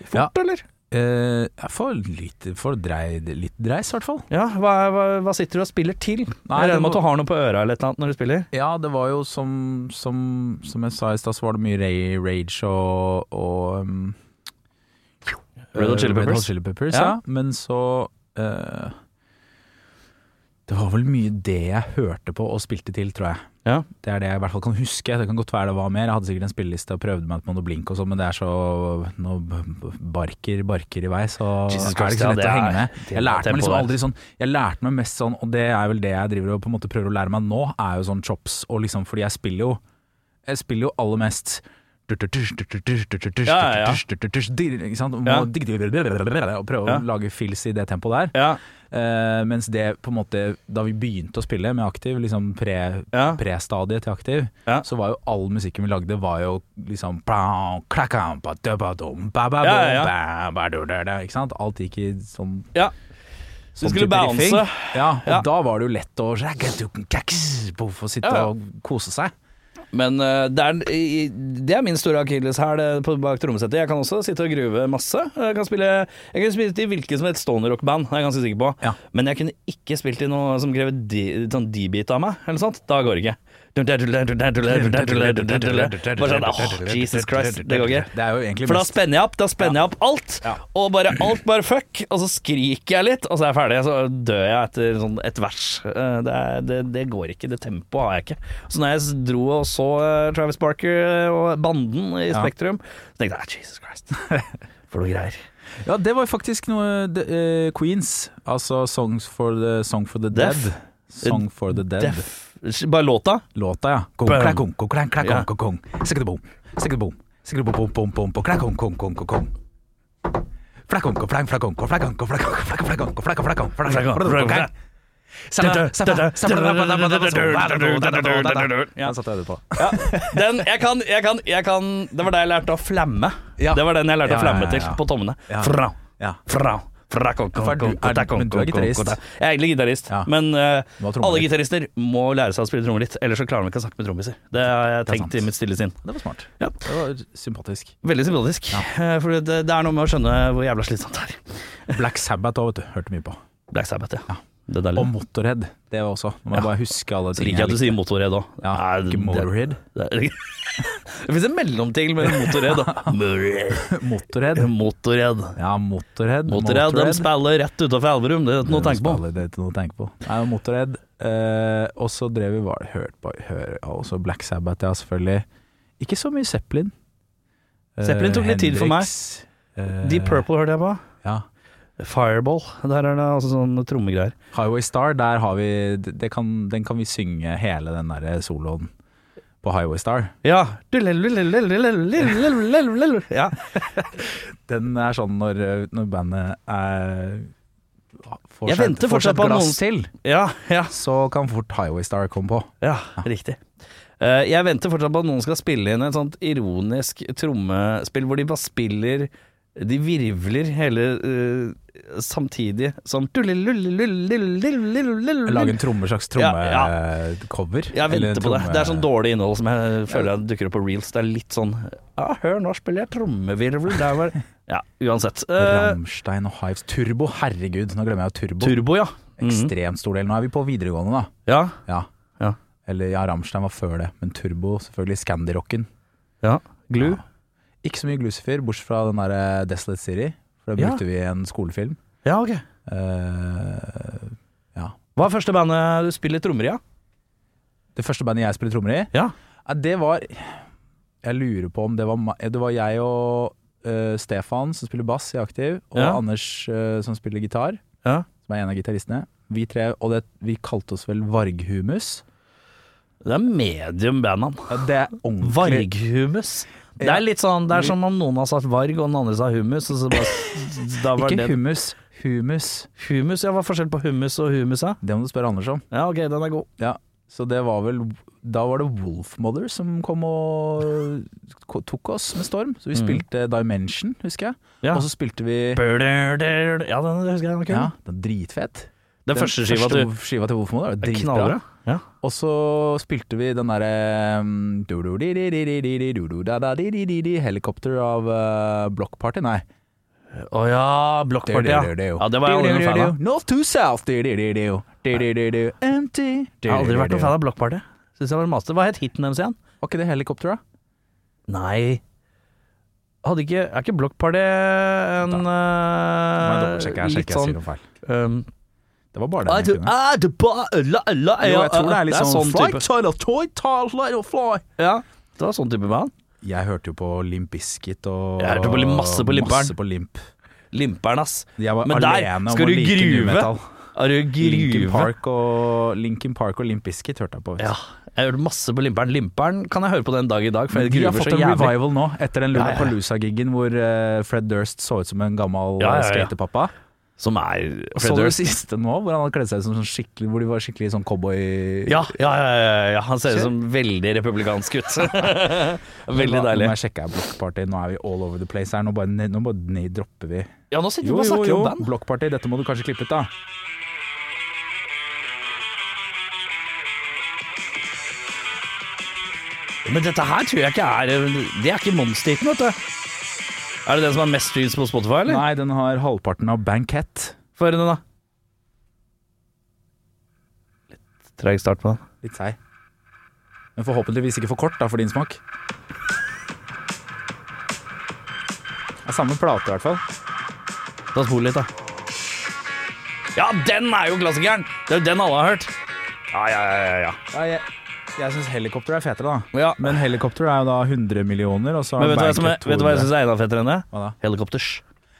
Fort, Ja. eller? Eh, jeg får litt, får drei, litt dreis, i hvert fall. Ja, hva, hva, hva sitter du og spiller til? Nei, jeg det regner med at må- du har noe på øra eller et eller annet når du spiller? Ja, det var jo som, som, som jeg sa i stad, så var det mye ra- rage og, og um, Red Hot Chili eh, Peppers. Chili Peppers, Ja. ja. Men så eh, Det var vel mye det jeg hørte på og spilte til, tror jeg. Ja. Det er det jeg i hvert fall kan huske. Det kan godt være det var mer. Jeg hadde sikkert en spilleliste og prøvde meg på noe blink og sånn, men det er så Nå barker barker i vei, så Jesus er det Christ, ikke ja, så lett det å er- henge med. det er Jeg lærte meg liksom tempoet. aldri sånn Jeg lærte meg mest sånn, og det er vel det jeg driver og på en måte prøver å lære meg nå, er jo sånn chops og liksom Fordi jeg spiller jo Jeg spiller jo aller mest Ja, ja, ja. Ikke sant? Ja. Og prøve Ja. å lage fills i det tempoet der. Ja. Eh, mens det på en måte Da vi begynte å spille med aktiv, liksom pre, Ja. pre-stadiet til aktiv, Ja. så var jo all musikken vi lagde, var jo liksom plang, klakam, badabadum, bababom, Ja, ja, ja. babadudada, Ikke sant? Alt gikk i sånn ja. Du sånn skulle type riffing. bounce. Ja, og Ja. da var det jo lett å raggadukkaks, poff, og sitte Ja, ja. og kose seg. Men eh, det, er, i- i- det er min store akilleshæl eh, på- bak trommesettet. Jeg kan også sitte og gruve masse. Jeg kan spille, jeg kan spille til hvilket som helst stående rockband, det er jeg ganske sikker på. Ja. Men jeg kunne ikke spilt i noe som krever D, sånn D-beat av meg, eller sånt. Da går det ikke. Bare sånn, åh, Jesus Christ, det går ikke. Det er jo egentlig For da mest- spenner jeg opp, da spenner jeg opp alt, Ja. og bare alt bare fuck, og så skriker jeg litt, og så er jeg ferdig, så dør jeg etter sånn et vers. Eh, Det, er, det, det går ikke, det tempoet har jeg ikke. Så når jeg s- dro og så eh, Travis Barker og banden i Ja. Spektrum, så tenkte jeg, Jesus "Ah, Christ. For noe greier. Ja, det var jo faktisk noe de, eh, Queens, altså Songs for the, Song for the Deaf. Dead. Eh, Song for the Dead. Deff. Bare låta? Låta, ja. Kong, Bam. klang, kong, kong, klang, klang, Ja. kong, kong, kong. Sikkert bom, sikkert bom. Sikkert bom, bom, bom, bom, bom, klang, kong, kong, kong, kong, kong. Flakong, kong, flang, flakong, kong, flakong, kong, flakong, kong, flakong, flakong, kong, flakong, flakong, flakong, flakong, flakong, klang. Sabba, sabba, sabba, sabba, sabba, sabba, sabba. Ja. Den satte jeg det på. Den, jeg kan, jeg kan, jeg kan Det var da jeg lærte å flamme. Ja. Det var den jeg lærte Ja, å flamme ja, ja, ja. til på tommene. Ja. Fra, Ja. fra, fra kon, kon, For du kon, er- ta, kon, men du er kon, kon, gitarist. kon, ta. Jeg er egentlig gitarist, Ja. men eh, Du har trommer alle litt. gitarister må lære seg å spille trommer litt. Ellers så klarer de ikke å snakke med trommiser. Det har jeg Det er tenkt sant. i mitt stille sinn. Det var smart. Ja. Det var sympatisk. Veldig symbolisk. eh, For det, det er noe med å skjønne hvor jævla slitsomt det er. Black Sabbath òg, vet du. Hørte mye på. Black Sabbath, ja. Ja. Det er Og deilig. Motorhead. Det var også. Nå må jeg bare huske alle Så liker jeg at du sier likte. motorhead òg. Ja, ikke Motorhead. Det, det, det fins en mellomting mellom motorhead og Motorhead. Motorhead. Motorhead. Ja, Motorhead. Motorhead, de spiller rett utafor Elverum, det er ikke noe å tenke på. Spiller, det er ikke noe å tenke på. Nei, Motorhead. Eh, og så drev vi var, hørt på hør, ja, også Black Sabbath, ja, selvfølgelig. Ikke så mye Zeppelin. Eh, Zeppelin tok litt tid for meg. Hendrix, eh, Deep Purple hørte jeg på. Ja. Fireball. Der er det altså sånne trommegreier. eh, Highway Star, der har vi det kan, Den kan vi synge hele den derre soloen på Highway Star. Ja. ja. Den er sånn når, når bandet er får Jeg seg- venter får fortsatt seg et på at glass noen- til, Ja, ja, så kan fort Highway Star komme på. ja, riktig. Eh, jeg venter fortsatt på at noen skal spille inn et sånt ironisk trommespill hvor de bare spiller De virvler hele eh, samtidig sånn som Lage en tromme, slags Ja, trommecover. Jeg venter på det. Det er sånn dårlig innhold som jeg føler jeg dukker opp på reels. Det er litt sånn Ja, hør, nå spiller jeg trommevirvel. Der var Ja, uansett. Eh, Ramstein og Hives. Turbo, herregud, nå glemmer jeg jo Turbo. turbo, ja. Mhm. Ekstremt stor del. Nå er vi på videregående, da. Ja. Ja. Ja. Eller ja, Ramstein var før det, men Turbo, selvfølgelig. Scandirocken. ja. Glu. Ja. Ikke så mye Glucifer, bortsett fra den derre Desolate City, for det Ja. brukte vi i en skolefilm. Ja, ok. Eh, ja. Hva er første bandet du spiller trommer i? Ja? Det første bandet jeg spilte trommer i, Ja. Ja, det var Jeg lurer på om det var ma- Det var jeg og eh, Stefan som spiller bass i Aktiv, og Ja. Anders eh, som spiller gitar, Ja. som er en av gitaristene. Vi tre, og det, vi kalte oss vel Varghumus. Det er medium band, han. Ja, det er ordentlig Varghumus. Det er litt sånn, det er som om noen har sagt varg og den andre sa hummus. Og så bare, da var Ikke det hummus, humus. Humus, ja, hva er forskjellen på hummus og humus? Ja? Det må du spørre Anders om. ja, ok, den er god. Ja. Så det var vel Da var det Wolfmother som kom og ko- tok oss med storm. Så vi Mm. spilte Dimension, husker jeg. Ja, Og så spilte vi ja den husker jeg. Den var kul. ja, Den er dritfet. Den, første skiva første du skiva til Wolfmother var dritbra. Knallbra. Ja. Og så spilte vi den derre um, du-du-di-di-di-di-di, du-du-da-da-di-di-di-di, Helicopter av uh, Block Party, nei. Å ja, Block Party, ja. Du-du-du-du. ja. Det var jeg aldri noen fan av. Du-du-du-du. North to South. du-du-du-du. Du-du-du-du. Empty. Jeg har aldri vært noen fan av Block Party. Syns jeg var master. Hva het hiten deres igjen? Var ikke det Helicopter, da? Nei hadde ikke, Er ikke Block Party en eh, litt sånn feil. um, Det var bare I det. do- I do- ba- la- la- Jo, jeg tror det ja, er litt sånn sånn type. Title, toy, title, let it fly. Ja, det var sånn type band. Jeg hørte jo på Limp Bizkit og Jeg hørte på lim- masse på Limperen. Masse på Limp. Limper'n, ass. Jeg var Men der alene skal om å du like gruve. nu metal. Er du Linkin gruve? Park og Linkin Park og Limp Bizkit hørte jeg på. vet du. Ja, jeg hørte masse på Limper'n. Limper'n kan jeg høre på den dag i dag, for jeg De har gruver så fått en jævlig. revival nå, etter den Ja, ja, ja. Lollapalooza-giggen hvor eh, Fred Durst så ut som en gammel Ja, ja, ja. eh, skatepappa. Som er Og så Fred du det Durst. siste nå, hvor han hadde kledd seg ut som sånn skikkelig Hvor de var skikkelig sånn cowboy Ja, ja, ja, ja, ja, han ser ut som veldig republikansk ut. veldig Nå- deilig. Nå sjekker jeg Block Party, nå er vi all over the place her. Nå bare, ned- nå bare ned dropper vi. Ja, nå sitter vi Jo, bare og jo, snakker jo. om band. Block Party, dette må du kanskje klippe ut, da. Men dette her tror jeg ikke er eh, Det er ikke monsterhiten, vet du. Er det den som har mest streams på Spotify, eller? Nei, den har halvparten av Bankett. Få høre den, da. Litt treg start på den. Litt seig. Men forhåpentligvis ikke for kort, da, for din smak. Det er samme plate, i hvert fall. Ta spol litt, da. Ja, den er jo klassikeren! Det er jo den alle har hørt. Ja, ja, ja, ja, ja. Ja, jeg, Jeg syns helikopter er fetere, da. Ja. Men helikopter er jo da 100 millioner, og så Men er vet du hva, som er, Banket vet du hva jeg 200. syns er enda fetere enn det? Hva da? Helikopters.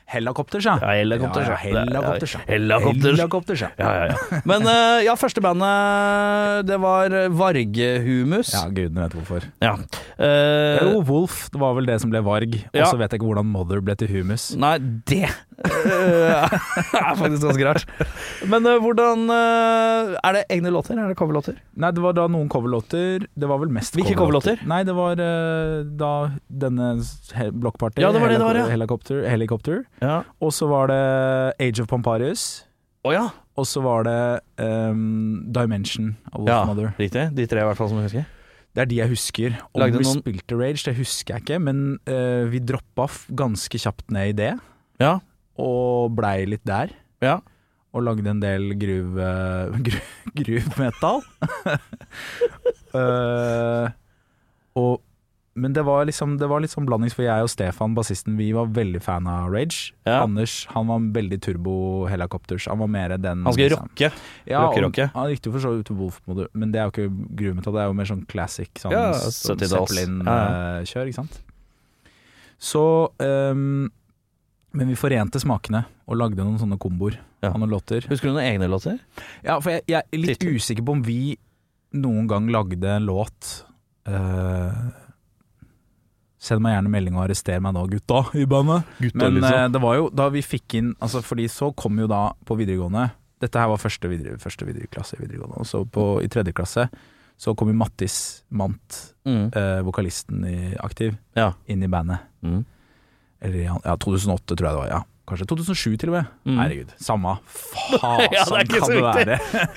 Helikopters, ja. Ja, helikopters, ja. Ja, ja, helikopters, ja. Helikopters. Helikopters, ja. Ja, ja, ja. Men eh, ja, første bandet, det var Vargehumus. Ja, gudene vet hvorfor. Ja. Eh, Jo, Wolf det var vel det som ble Varg, og Ja. så vet jeg ikke hvordan Mother ble til Humus. Nei, det eh, er faktisk ganske rart. Men eh, hvordan eh, Er det egne låter? Er det coverlåter? Nei, det var da noen coverlåter. Det var vel mest Hvilke coverlåter? Nei, det var eh, da denne he- blokkpartiet. Ja, det var det det var, ja. Helikopter. helikopter. Ja. Og så var det Age of Pamparius. Å ja. Og så var det ehm, Dimension av Wolf ja. Mother. Riktig. De tre i hvert fall som jeg husker. Det er de jeg husker. Om Lagde vi noen- spilte Rage, det husker jeg ikke, men eh, vi droppa f ganske kjapt ned i det, Ja. og blei litt der. Ja. Og lagde en del groove eh, gru, Groove-metal. Eh, og men det var, liksom, det var litt sånn blandings, for jeg og Stefan, bassisten, vi var veldig fan av Rage. Ja. Anders han var veldig turbo-helikopters. Han var mer den Han skal liksom- rocke. ja, Rocke, og- rocke. Ja, riktig for så vidt Wolf-modul, men det er jo ikke gruvemetall, det er jo mer sånn classic sånn, Ja, sånn 70-talls. Ja, Zeppelin-kjør, ikke sant. Så ehm, Men vi forente smakene og lagde noen sånne komboer Ja. av noen låter. Husker du noen egne låter? Ja, for jeg, jeg er litt Titler. usikker på om vi noen gang lagde en låt eh, Send meg gjerne melding og arrester meg nå, gutta, i bandet. Men eh, det var jo da vi fikk inn altså, Fordi så kom jo da på videregående Dette her var første, videre, første videre klasse i videregående Og så på, i tredje klasse Så kom jo Mattis Mant Mm. eh, Vokalisten i Aktiv Ja. Inn i bandet Mm. Eller i han- ja, 2008 tror jeg det var ja. Kanskje 2007 til og med Mm. Herregud, samme faen Ja, det er ikke kan så viktig. det være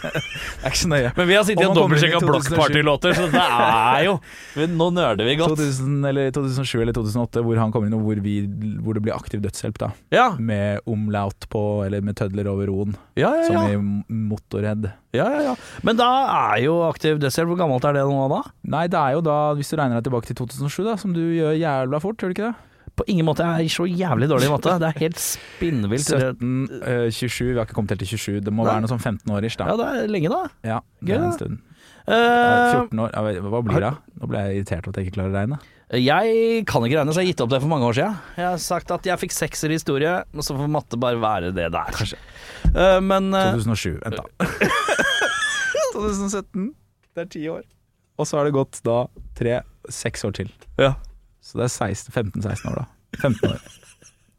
Det er ikke så nøye Men vi har sittet Om og man kommer inn i dobbeltsjekka 2007. blokkpartylåter, så det er jo Men Nå nøler vi godt. 2000, eller 2007 eller 2008 Hvor han kommer inn og hvor, vi, hvor det blir aktiv dødshjelp da Ja, Med omlaut på Eller med tødler over roen ja, ja. ja. Som i Motorhead ja, ja, ja. Men da er jo Aktiv Dødshjelp Hvor gammelt er det nå, da? Nei, det er jo da, hvis du regner deg tilbake til 2007, da, som du gjør jævla fort, gjør du ikke det? På ingen måte. Jeg er så jævlig dårlig i matte. Det er helt spinnvilt. 17, eh, 27, vi har ikke kommet helt til 27, det må Nei. være noe sånn 15 år ish, Ja, da. det er lenge, da. Ja, det er Gøy, en da. stund. Eh, Eh, 14 år, ja, hva- hva blir det? Nå ble jeg irritert over at jeg ikke klarer å regne. jeg kan ikke regne, så jeg har gitt opp det for mange år siden. Jeg har sagt at jeg fikk sekser i historie, men så får matte bare være det der. Kanskje. Eh, men eh, 2007, vent da. 2017, det er 10 år. Og så har det gått da 3, 6 år til. ja. Så det er 16, 15-16 år da. 15 år.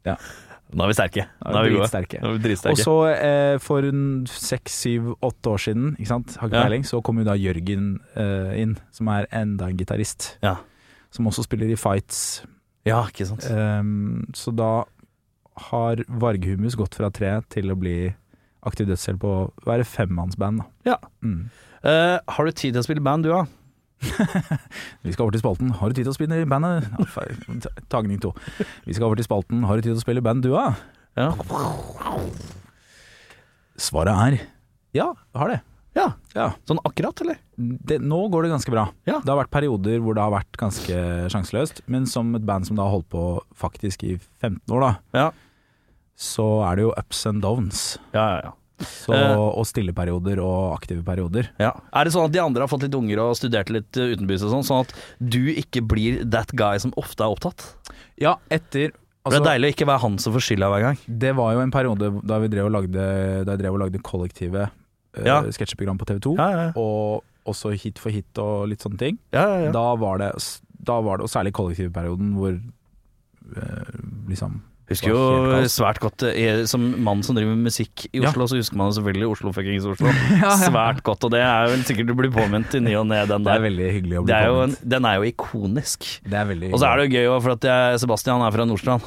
Nå er vi sterke. Nå er vi gode. Dritsterke. Nå er vi Og dritsterke. så eh, for en seks, syv, åtte år siden, ikke sant? Har Ja. ikke peiling, så kom jo da Jørgen eh, inn, som er enda en gitarist. Ja. Som også spiller i fights. Ja, ikke sant. Ehm, så da har Varghumus gått fra tre til å bli aktiv dødshjelp og være femmannsband, da. Ja. Mm. Eh, har du tid til å spille band, du, da? Vi skal over til spalten 'Har du tid til å spille i bandet?' Ja, feil. Tagning to. Vi skal over til spalten 'Har du tid til å spille i band, du, da?' Ja. Svaret er ja, jeg har det. ja. Ja. Sånn akkurat, eller? det, nå går det ganske bra. Ja. Det har vært perioder hvor det har vært ganske sjanseløst, men som et band som da har holdt på faktisk i 15 år, da, Ja. så er det jo ups and downs. Ja, ja, ja. Så, Eh. og stille perioder og aktive perioder. Ja. Er det sånn at de andre har fått litt unger og studert litt eh, utenbys og sånn, sånn at du ikke blir that guy som ofte er opptatt? Ja, etter For det er altså, deilig å ikke være han som får skylda hver gang. Det var jo en periode da, vi drev og lagde, da jeg drev og lagde kollektive eh, Ja. sketsjeprogram på TV 2, Ja, ja, og også Hit for hit og litt sånne ting. ja. Da, var det, da var det, og særlig kollektivperioden hvor eh, liksom Husker jo Det var helt kaos. svært godt eh, Som mann som driver med musikk i Ja. Oslo, så husker man jo selvfølgelig Oslo fuckings Oslo. Svært godt, og det er vel sikkert du blir påminnet i ny og ne, den Det er der. veldig hyggelig å bli Det er jo en, påminnet. den er jo ikonisk. Det er veldig Og så er det jo gøy, også, for at jeg, Sebastian han er fra Nordstrand.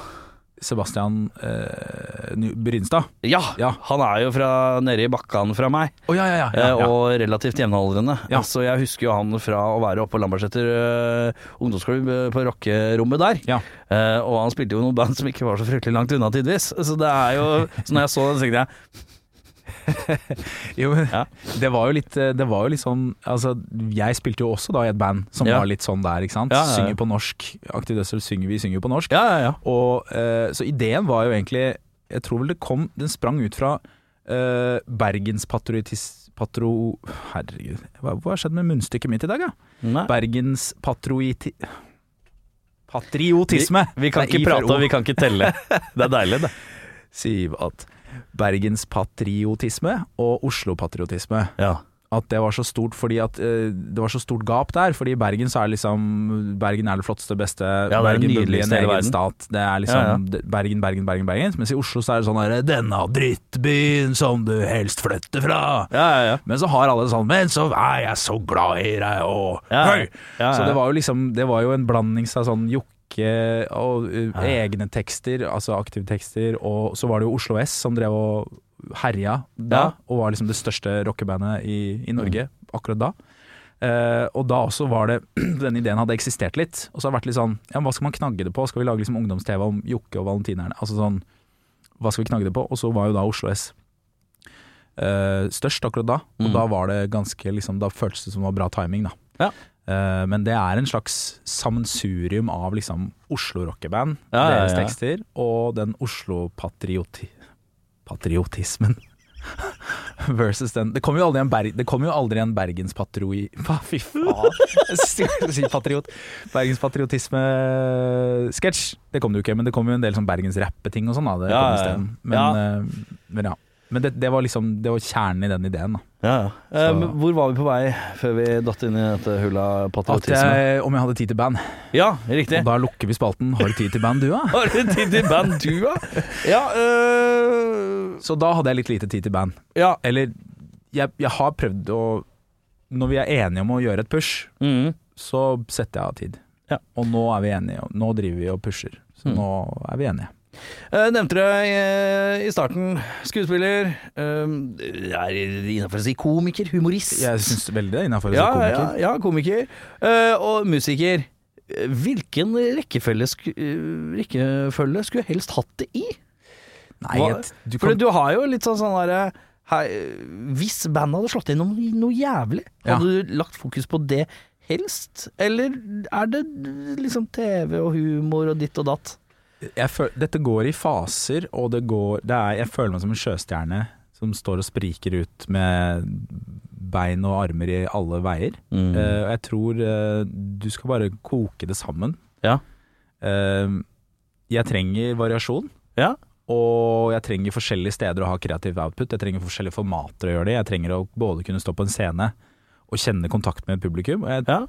Sebastian eh, Ny- Brynstad. Ja, Ja. han er jo fra nede i bakkan fra meg, Å ja, ja, eh, og relativt jevnaldrende. Ja. Så jeg husker jo han fra å være oppe på Lambertseter eh, ungdomsklubb eh, på rockerommet der. Ja. Eh, og han spilte jo noen band som ikke var så fryktelig langt unna tidvis. Så det er jo Så når jeg så det, så tenkte jeg Jo, men Ja. Det var jo litt eh, Det var jo litt sånn Altså, jeg spilte jo også da i et band som Ja. var litt sånn der, ikke sant? Ja, ja, ja. Synger på norsk. Aktiv Dødsel synger vi, synger jo på norsk. Ja, ja, ja. Og, eh, så ideen var jo egentlig Jeg tror vel det kom Den sprang ut fra eh, Bergens patriotis- Patro... Herregud, hva, hva har skjedd med munnstykket mitt i dag, da? Nei. Bergens patroiti... Patriotisme! Vi kan Det er ikke i for prate og O. vi kan ikke telle. Det er deilig, det. Siv at Bergens patriotisme og Oslo-patriotisme Ja. At det var så stort fordi at eh, det var så stort gap der. Fordi i Bergen så er liksom Bergen er det flotteste, beste det er det Bergen burde bli nydeligste en i hele egen verden. stat. Det er liksom Ja, det- Bergen, Bergen, Bergen, Bergen. Mens i Oslo så er det sånn herre Denne drittbyen som du helst flytter fra. Ja, ja, ja. Men så har alle sånn Men så er jeg så glad i deg og Ja, ja. høy! Ja, ja. Så det var jo liksom Det var jo en blandings av sånn jokke og uh, egne tekster, altså aktive tekster, og så var det jo Oslo S som drev og herja da, Ja. Mm. og var liksom det største rockebandet i, i Norge akkurat da. Eh, og da også var det Denne ideen hadde eksistert litt. Og så har det vært litt sånn Ja, men hva skal man knagge det på? Skal vi lage liksom ungdoms-TV om Jokke og valentinerne? Altså sånn Hva skal vi knagge det på? Og så var jo da Oslo S eh, størst akkurat da. Og Mm. da var det ganske liksom Da føltes det som det var bra timing, da. Ja. Eh, men det er en slags sammensurium av liksom Oslo-rockeband, Ja, ja, deres ja. tekster, og den Oslo-patriotismen versus den Det kommer jo aldri en, Berg, det kommer jo aldri en bergenspatroi... Hva, Fy faen! Jeg skulle si patriot. Bergenspatriotisme-sketsj. Det kom det jo ikke, men det kom jo en del sånn bergensrappeting og sånn. da, Det Ja, kom ja, ja. isteden. Men, eh, men ja. Men det, det var liksom Det var kjernen i den ideen. da ja, ja. Eh, Så- men hvor var vi på vei før vi datt inn i dette hullet av At patriotisme? jeg, om jeg hadde tid til band. Ja, riktig. Og da lukker vi spalten. Har du tid til band, du, da? Har du tid til band, du, da? Ja, øh, Så da hadde jeg litt lite tid til band. ja. Eller jeg, jeg har prøvd å Når vi er enige om å gjøre et push, Mm. så setter jeg av tid. Ja. Mm. Og nå er vi enige. og Nå driver vi og pusher. Så nå er vi enige. Eh, nevnte det eh, i starten. Skuespiller. Um, er innafor å si komiker. Humorist. Jeg syns veldig det er innafor å ja, si komiker. ja, ja, komiker. Eh, og musiker. Eh, Hvilken rekkefølge, sku, eh, rekkefølge skulle jeg helst hatt det i? Nei, Hva- jeg, du For kan, du har jo litt sånn sånn derre hei, Hvis bandet hadde slått gjennom i noe jævlig, Ja. hadde du lagt fokus på det helst? Eller er det liksom TV og humor og ditt og datt? jeg føl, dette går i faser, og det går det er, Jeg føler meg som en sjøstjerne som står og spriker ut med bein og armer i alle veier. Mm. Eh, Og jeg tror eh, du skal bare koke det sammen. Ja. Eh, jeg trenger variasjon. Ja. Og jeg trenger forskjellige steder å ha kreativ output. Jeg trenger forskjellige formater å gjøre det i. Jeg trenger å både kunne stå på en scene og kjenne kontakt med publikum. Og, jeg, Ja.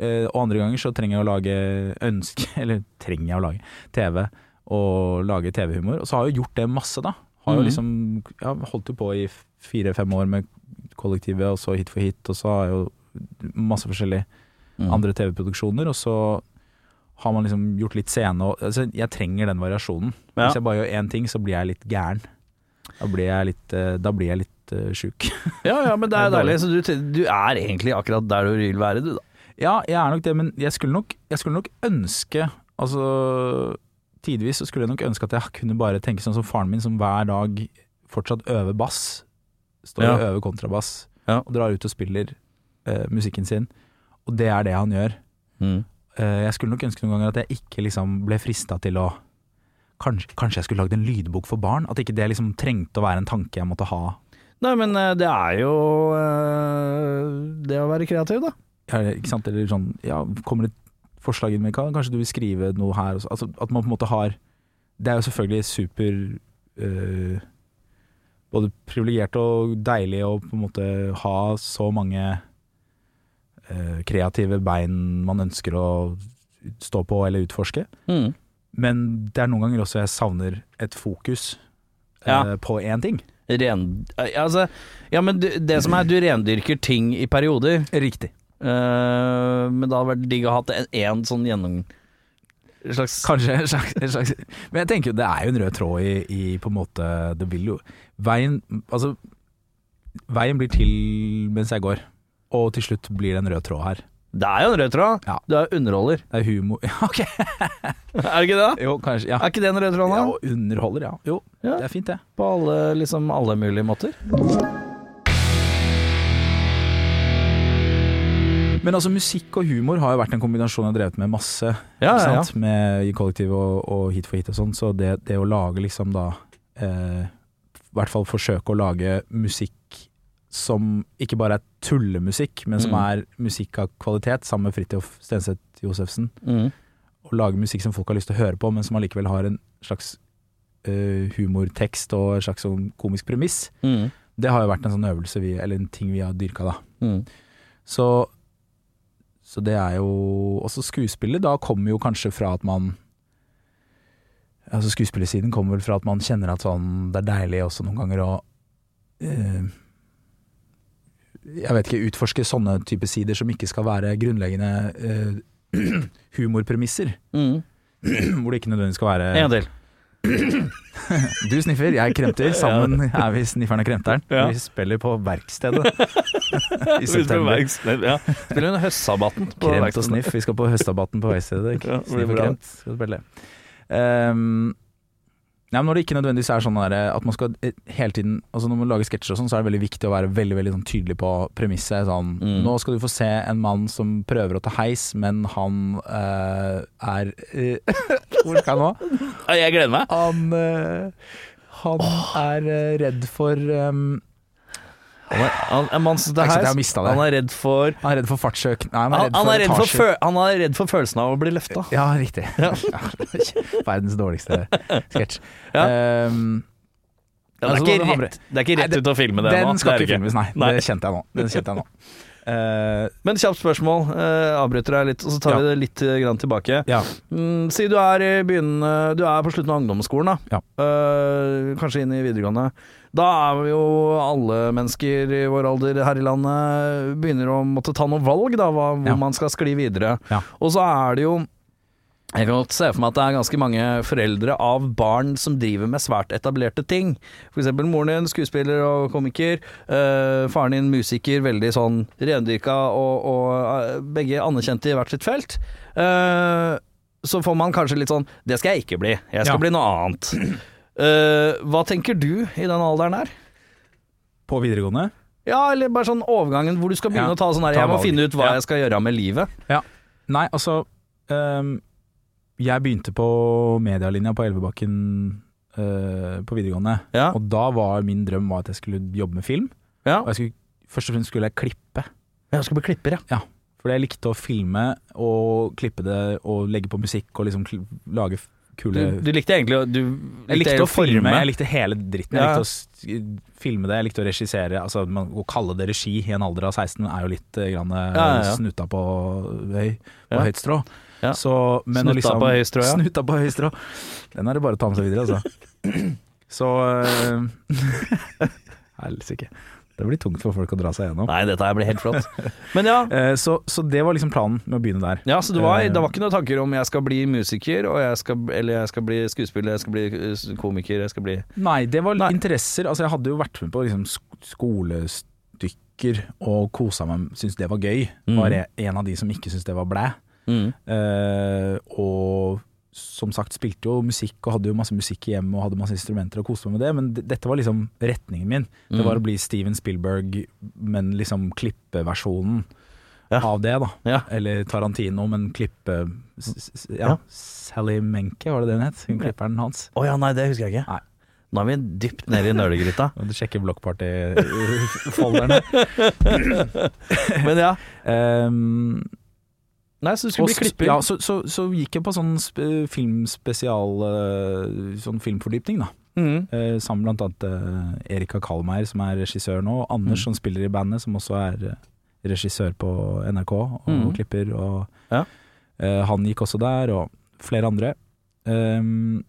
eh, og andre ganger så trenger jeg å lage ønske Eller trenger jeg å lage TV og lage TV-humor. Og så har jeg jo gjort det masse, da. Har Mhm. jo liksom ja, holdt jo på i fire-fem år med kollektivet, og så hit for hit, og så har jeg jo masse forskjellig Mm. andre TV-produksjoner, og så har man liksom gjort litt scene og altså, Jeg trenger den variasjonen. Ja. Hvis jeg bare gjør én ting, så blir jeg litt gæren. Da blir jeg litt, eh, da blir jeg litt eh, sjuk. Ja, ja, men det er Det er deilig. Så du, du er egentlig akkurat der du vil være, du, da. Ja, jeg er nok det, men jeg skulle nok, jeg skulle nok ønske Altså Tidvis så skulle jeg nok ønske at jeg kunne bare tenke sånn som faren min, som hver dag fortsatt øver bass. Står og Ja. øver kontrabass Ja. og drar ut og spiller eh, musikken sin. Og det er det han gjør. Eh, jeg skulle nok ønske noen ganger at jeg ikke liksom ble frista til å Kanskje, kanskje jeg skulle lagd en lydbok for barn? At ikke det liksom trengte å være en tanke jeg måtte ha. Nei, men eh, det er jo eh, det å være kreativ, da. Eller, Ikke sant? Eller sånn, ja, kommer det forslag inn, Mikael? Kanskje du vil skrive noe her? og så- Altså, at man på en måte har Det er jo selvfølgelig super eh, Både privilegert og deilig å på en måte ha så mange eh, kreative bein man ønsker å stå på eller utforske. Men det er noen ganger også jeg savner et fokus eh, Ja. på én ting. Ren, eh, altså, ja, men du, det som er, du rendyrker ting i perioder. Riktig. Eh, men det hadde vært digg å ha hatt en, en sånn gjennom... en Slags Kanskje en slags, en slags Men jeg tenker jo det er jo en rød tråd i, i på en måte Det vil jo Veien Altså Veien blir til mens jeg går. Og til slutt blir det en rød tråd her. Det er jo en rød tråd. Ja. Du er underholder. Det er humor Ja, ok. Er det ikke det? Jo, kanskje. Ja. Er ikke det en rød tråd, ja da? og underholder, ja. Jo, Ja. det er fint, det. På alle, liksom, alle mulige måter. Men altså, musikk og humor har jo vært en kombinasjon jeg har drevet med masse. Ja, ikke ja, ja. sant? Med i kollektiv og, og hit for hit og sånn. Så det, det å lage liksom da eh, I hvert fall forsøke å lage musikk som ikke bare er tullemusikk, men som Mm. er musikk av kvalitet, sammen med Fridtjof Stenseth Josefsen. Mm. Å lage musikk som folk har lyst til å høre på, men som allikevel har en slags eh, humortekst og en slags sånn komisk premiss. Mm. Det har jo vært en sånn øvelse vi, eller en ting vi har dyrka, da. Mm. Så, så det er jo Også skuespillet da kommer jo kanskje fra at man Altså Skuespillersiden kommer vel fra at man kjenner at sånn det er deilig også noen ganger å eh, Jeg vet ikke, utforske sånne type sider som ikke skal være grunnleggende eh, humorpremisser. Mm. Hvor det ikke nødvendigvis skal være En til. Du sniffer, jeg kremter. Sammen er vi snifferen og kremteren. Ja. Vi spiller på Verkstedet i Vi spiller september. verks- Ja. Spiller under høstsabbaten. på Kremt og verkstedet. sniff. Vi skal på høstabatten på Veistedet. Ja, det blir sniff og bra. kremt. Skal spille. Ehm, nei, men når det ikke nødvendigvis er sånn der, at man skal eh, hele tiden altså Når man lager sketsjer og sånn, så er det veldig viktig å være veldig veldig sånn tydelig på premisset. Sånn, Mm. Nå skal du få se en mann som prøver å ta heis, men han eh, er eh, Hvor skal jeg nå? Ja, Jeg gleder meg. Han, eh, han er eh, redd for ehm, Han er, han, en mann som Det sitter er ikke sant, her, jeg har mistet det. Han er redd for Han er redd for fartsøk... Nei, han er han, redd for er redd for, etasjer. føl- han er redd for følelsen av å bli løfta. Ja, riktig. Ja. Verdens dårligste sketsj. Ja. Ehm, Det, er altså, ikke det var rett- det er ikke Nei, rett ut å filme det nå. den det skal er ikke det filmes, nei. Nei. Det kjente jeg nå. Den kjente jeg nå. Eh, Men kjapt spørsmål. eh, avbryter deg litt, og så tar Ja. vi det litt eh, grann tilbake. ja. Mm, si du er, i begynn- eh, du er på slutten av ungdomsskolen, da. Ja. Eh, kanskje inn i videregående. Da er vi jo alle mennesker i vår alder her i landet begynner å måtte ta noen valg, da, hva, hvor Ja. man skal skli videre. Ja. Og så er det jo jeg kan godt se for meg at det er ganske mange foreldre av barn som driver med svært etablerte ting. For eksempel moren din, skuespiller og komiker. eh, faren din, musiker. Veldig sånn rendyrka og, og eh, begge anerkjente i hvert sitt felt. Eh, så får man kanskje litt sånn Det skal jeg ikke bli. Jeg skal Ja. bli noe annet. Eh, hva tenker du i den alderen her? På videregående. Ja, eller bare sånn overgangen hvor du skal begynne å Ja, ta sånn her ta Jeg må valg. finne ut hva Ja. jeg skal gjøre med livet. Nei, altså ehm, Jeg begynte på medialinja på Elvebakken eh, på videregående. Ja. Og da var min drøm var at jeg skulle jobbe med film. ja. Og jeg skulle, først og fremst skulle jeg klippe. Jeg skal bli klipper, ja. Fordi jeg likte å filme og klippe det og legge på musikk og liksom kl lage f- Du, kule du likte egentlig å du Jeg likte egentlig å filme, jeg likte hele dritten. Jeg Ja. likte å s- filme det, jeg likte å regissere. Altså, man, å kalle det regi i en alder av 16 er jo litt eh, grann, eh, Ja, ja, ja. snuta på, høy, på Ja. høyt strå. Ja. Så, men å Snutta på høyt strå, ja. Snuta på høyt strå. Den er det bare å ta med seg videre, altså. Så eh, Helsike. Det blir tungt for folk å dra seg gjennom. Nei, dette her blir helt flott. Men ja, Eh, Så, så det var liksom planen med å begynne der. ja så det var, Eh. det var ikke noen tanker om jeg skal bli musiker, og jeg skal, eller jeg skal bli skuespiller, jeg skal bli eh, komiker, jeg skal bli Nei, det var Nei. interesser. Altså, jeg hadde jo vært med på liksom, sk- skolestykker og kosa meg, syntes det var gøy. Mhm. Var jeg en av de som ikke syntes det var blæ. Eh, og som sagt spilte jo musikk og hadde jo masse musikk i hjemmet og hadde masse instrumenter og koste meg med det, men d- dette var liksom retningen min. Mm. Det var å bli Steven Spielberg, men liksom klippeversjonen Ja. av det, da. Ja. Eller Tarantino, men klippe... s- s- s- Ja. Ja. Sally Menke, var det det hun het? Hun klipperen hans. Å ja, nei, det husker jeg ikke. Nei. Nå er vi dypt nede i nølegryta. Og du sjekker blokkparty-folderne. Men ja. um, Nei, så du skulle bli klipper. ja, så, så, så gikk jeg på sånn sp filmspesial eh, Sånn filmfordypning, da. Mhm. Eh, sammen blant annet eh, Erika Kalmeier, som er regissør nå, og Anders, Mm. som spiller i bandet, som også er eh, regissør på NRK og Mm. klipper. Og Ja. eh, han gikk også der, og flere andre. Um,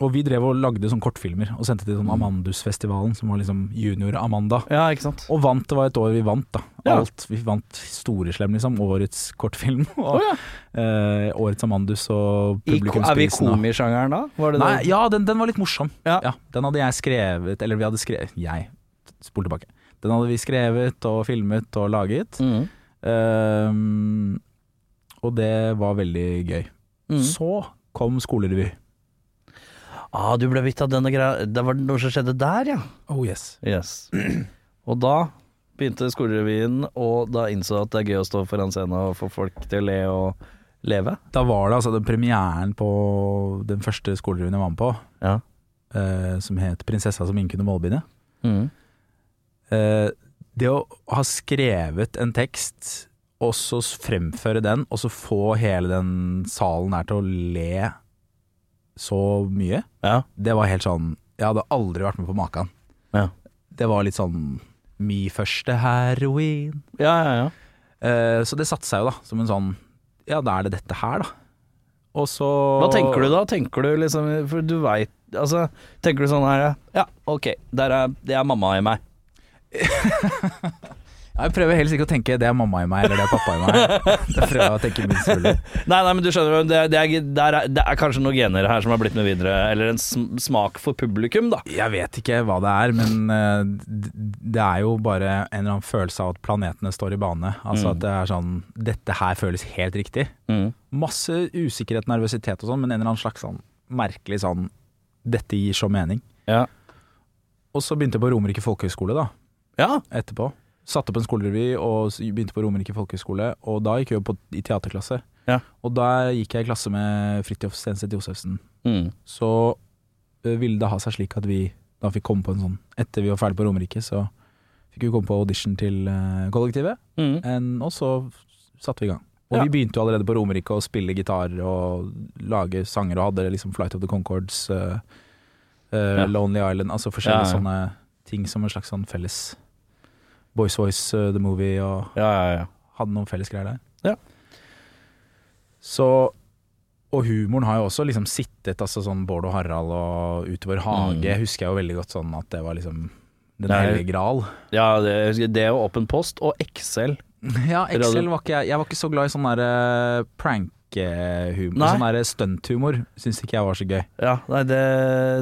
og vi drev og lagde sånn kortfilmer og sendte til Mm. sånn Amandusfestivalen, som var liksom junior Amanda. Ja, ikke sant. Og vant, det var et år vi vant da Ja. Alt, vi vant Storeslem liksom Årets kortfilm og, Å, ja. eh, Årets Amandus og I, er vi i publikumsprisen da. komisjangeren da? Var det Nei, det? ja, den, den var litt morsom Ja. Den hadde jeg skrevet Eller vi hadde skrevet Jeg, spol tilbake Den hadde vi skrevet og filmet og laget Mhm. Ehm, Og det var veldig gøy Mhm. Så kom skolerevy Ah, du ble bitt av denne greia Det var noe som skjedde der, ja. Oh yes Yes. Og da begynte skolerevyen, og da innså at det er gøy å stå foran scenen og få folk til å le og leve. Da var det altså den premieren på Den første skolerevyen jeg var med på Ja. eh, Som het Prinsessa som ingen kunne målbinde Mm. Eh, det å ha skrevet en tekst, og så s- fremføre den, og så få hele den salen her til å le så mye, Ja. det var helt sånn Jeg hadde aldri vært med på maken. Ja. Det var litt sånn Mi første heroin. Ja, ja, ja. Eh, så det satte seg jo, da, som en sånn Ja, da er det dette her, da. Og så Hva tenker du da? Tenker du liksom For du veit Altså, tenker du sånn her Ja, ok, der er, det er mamma i meg. Jeg prøver helst ikke å tenke 'det er mamma i meg' eller 'det er pappa i meg'. Jeg prøver å tenke minst mulig. Nei, nei, men du skjønner, det, det, er, der er, det er kanskje noen gener her som har blitt med videre, eller en sm- smak for publikum, da. Jeg vet ikke hva det er, men eh, d- det er jo bare en eller annen følelse av at planetene står i bane. Altså at det er sånn Dette her føles helt riktig. Mm. Masse usikkerhet, nervøsitet og sånn, men en eller annen slags sånn merkelig sånn Dette gir så mening. Ja. Og så begynte jeg på Romerike folkehøgskole, da, ja. etterpå. Satte opp en skolerevy og s- begynte på Romerike folkehøgskole, og da gikk jeg jo på, i teaterklasse. Ja. Og da gikk jeg i klasse med Fridtjof Stenseth Josefsen Mm. så ø, ville det ha seg slik at vi da fikk komme på en sånn Etter vi var ferdig på Romerike, så fikk vi komme på audition til ø, kollektivet, en, og så satte vi i gang. Og Ja. vi begynte jo allerede på Romerike å spille gitar og lage sanger, og hadde liksom Flight of the Concords, ø, ø, Ja. Lonely Island, Ja, altså forskjellige ja. sånne ting som en slags sånn felles Boys Voice, ø, The Movie, og Ja, ja, ja. hadde noen felles greier der. Ja. Så Og humoren har jo også liksom sittet, altså sånn Bård og Harald og Utover hage Mm. husker jeg jo veldig godt sånn at det var liksom den Nei. hellige gral. ja det, det er jo Åpen post og Excel. Ja, Excel Radio- var ikke jeg Jeg var ikke så glad i sånn der eh, prankehumor. Nei. Sånn der stunthumor syns ikke jeg var så gøy. Ja, nei, det,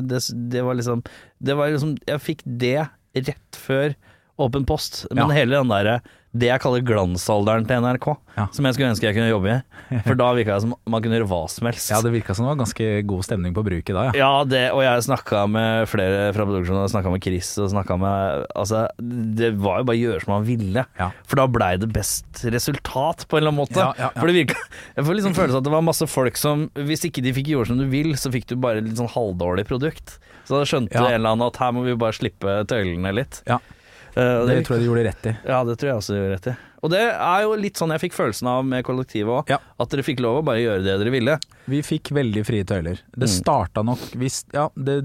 det, det var liksom Det var liksom Jeg fikk det rett før Åpen post, men Ja. hele den derre Det jeg kaller glansalderen til NRK, Ja. som jeg skulle ønske jeg kunne jobbe i. For da virka det som man kunne gjøre hva som helst. Ja, det virka som det var ganske god stemning på bruket da, ja. Ja, det, og jeg snakka med flere fra produksjonen. Jeg snakka med Chris og snakka med Altså, det var jo bare å gjøre som man ville. Ja. For da blei det best resultat, på en eller annen måte. Ja, ja, ja. For det virka Jeg får liksom følelsen at det var masse folk som Hvis ikke de fikk gjort som du vil, så fikk du bare litt sånn halvdårlig produkt. Så da skjønte Ja. en eller annen at her må vi bare slippe tøylene litt. Ja. Eh, og Det det tror jeg de gjorde rett i. ja, det tror jeg også du gjør rett i. Og det er jo litt sånn jeg fikk følelsen av med kollektivet òg. Ja. At dere fikk lov å bare gjøre det dere ville. Vi fikk veldig frie tøyler. Mm. Det starta nok hvis, ja, det,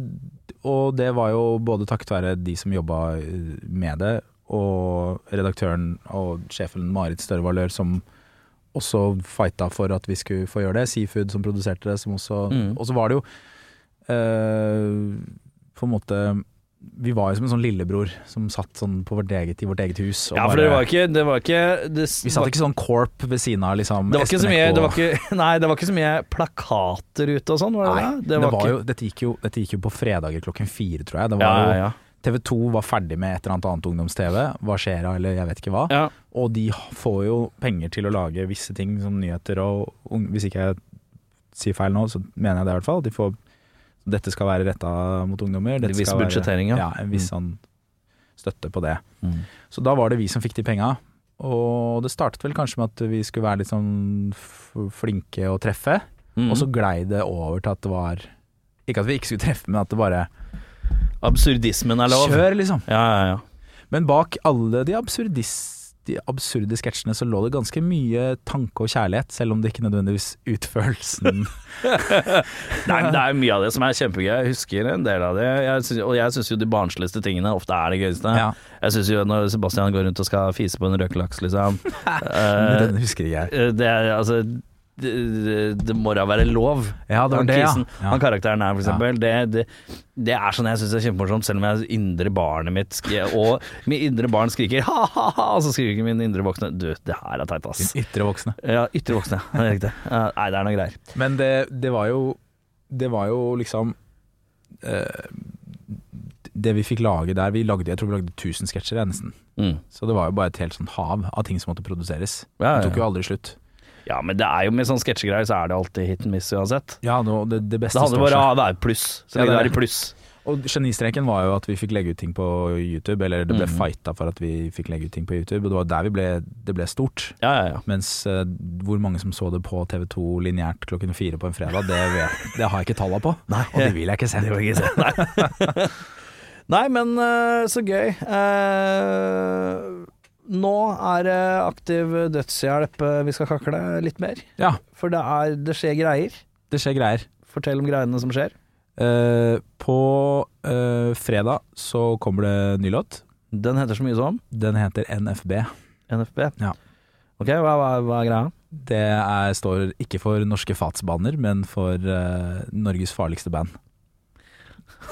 Og det var jo både takket være de som jobba eh, med det, og redaktøren og sjefen Marit Støre Valør som også fighta for at vi skulle få gjøre det. Seafood som produserte det, som også Mm. Og så var det jo eh, på en måte Vi var jo som en sånn lillebror som satt sånn på vårt eget, i vårt eget hus. og Ja, for bare- det var ikke Det var ikke det, vi satt ikke sånn corp ved siden av liksom Det var, ikke så Espen mye, Eckbo. det var ikke, nei, det var ikke så mye plakater ute og sånn, var det Nei, det? det var ikke- jo, dette, gikk jo, dette gikk jo på fredager klokken fire, tror jeg. Det ja, var ja, jo, ja. TV 2 var ferdig med et eller annet annet ungdoms-TV, hva skjer da, eller jeg vet ikke hva. ja. Og de får jo penger til å lage visse ting, som nyheter og ung- Hvis ikke jeg sier feil nå, så mener jeg det i hvert fall. De får Dette skal være retta mot ungdommer. En Dette viss skal være- budsjettering, ja. ja. En viss sånn støtte på det. Mm. Så da var det vi som fikk de penga. Og det startet vel kanskje med at vi skulle være litt sånn f- flinke å treffe. Mm. Og så glei det over til at det var Ikke at vi ikke skulle treffe, men at det bare Absurdismen er lov. Kjør, liksom. Ja, ja, ja. Men bak alle de, absurdis, de absurde sketsjene så lå det ganske mye tanke og kjærlighet, selv om det ikke nødvendigvis utførelsen Nei, men det er mye av det som er kjempegøy. Jeg husker en del av det. Jeg synes, og jeg syns jo de barnsligste tingene ofte er det gøyeste. Ja. Jeg syns jo når Sebastian går rundt og skal fise på en røkelaks, liksom. Eh, Den husker ikke jeg. det er altså det, det- det må da være lov. Ja, det var han, det, ja. kisen, Ja. han karakteren her, for eksempel. Det, det, det er sånn jeg syns er kjempemorsomt, selv om jeg indre barnet mitt skri- og mitt indre barn skriker ha-ha-ha, og så skriker min indre voksne du, det her er teit, ass. Ytre voksne. Ja, ytre voksne, ja. det er riktig. Ja, Nei, det er noe greier. Men det, det var jo Det var jo liksom eh, Det vi fikk lage der Vi lagde, jeg tror vi lagde 1000 sketsjer, ja, nesten. Mm. Så det var jo bare et helt sånn hav av ting som måtte produseres. Ja, Det tok ja. jo aldri slutt. ja, men det er jo med sånne sketsjegreier så er det alltid hit and miss uansett. Ja, nå- det, det beste Det handler står bare seg. om å være pluss, så lenge Ja, det det er er- i pluss. Og genistreken var jo at vi fikk legge ut ting på YouTube, eller det ble Mhm. fighta for at vi fikk legge ut ting på YouTube, og det var der vi ble, det ble stort. Ja, ja, ja. Mens eh, hvor mange som så det på TV2 lineært klokken fire på en fredag, det, vet, det har jeg ikke talla på. Nei. Og det vil jeg ikke se. Det var ikke sånn, nei. Nei, men eh, så gøy. Eh, nå er det aktiv dødshjelp eh, vi skal kakle litt mer. Ja, For det, er, det skjer greier. det skjer greier. Fortell om greiene som skjer. Eh, på eh, fredag så kommer det ny låt. Den heter så mye som Den heter NFB. NFB. Ja. Ok, hva, hva, hva er greia? Det er, står ikke for norske fatsbaner, men for eh, Norges farligste band.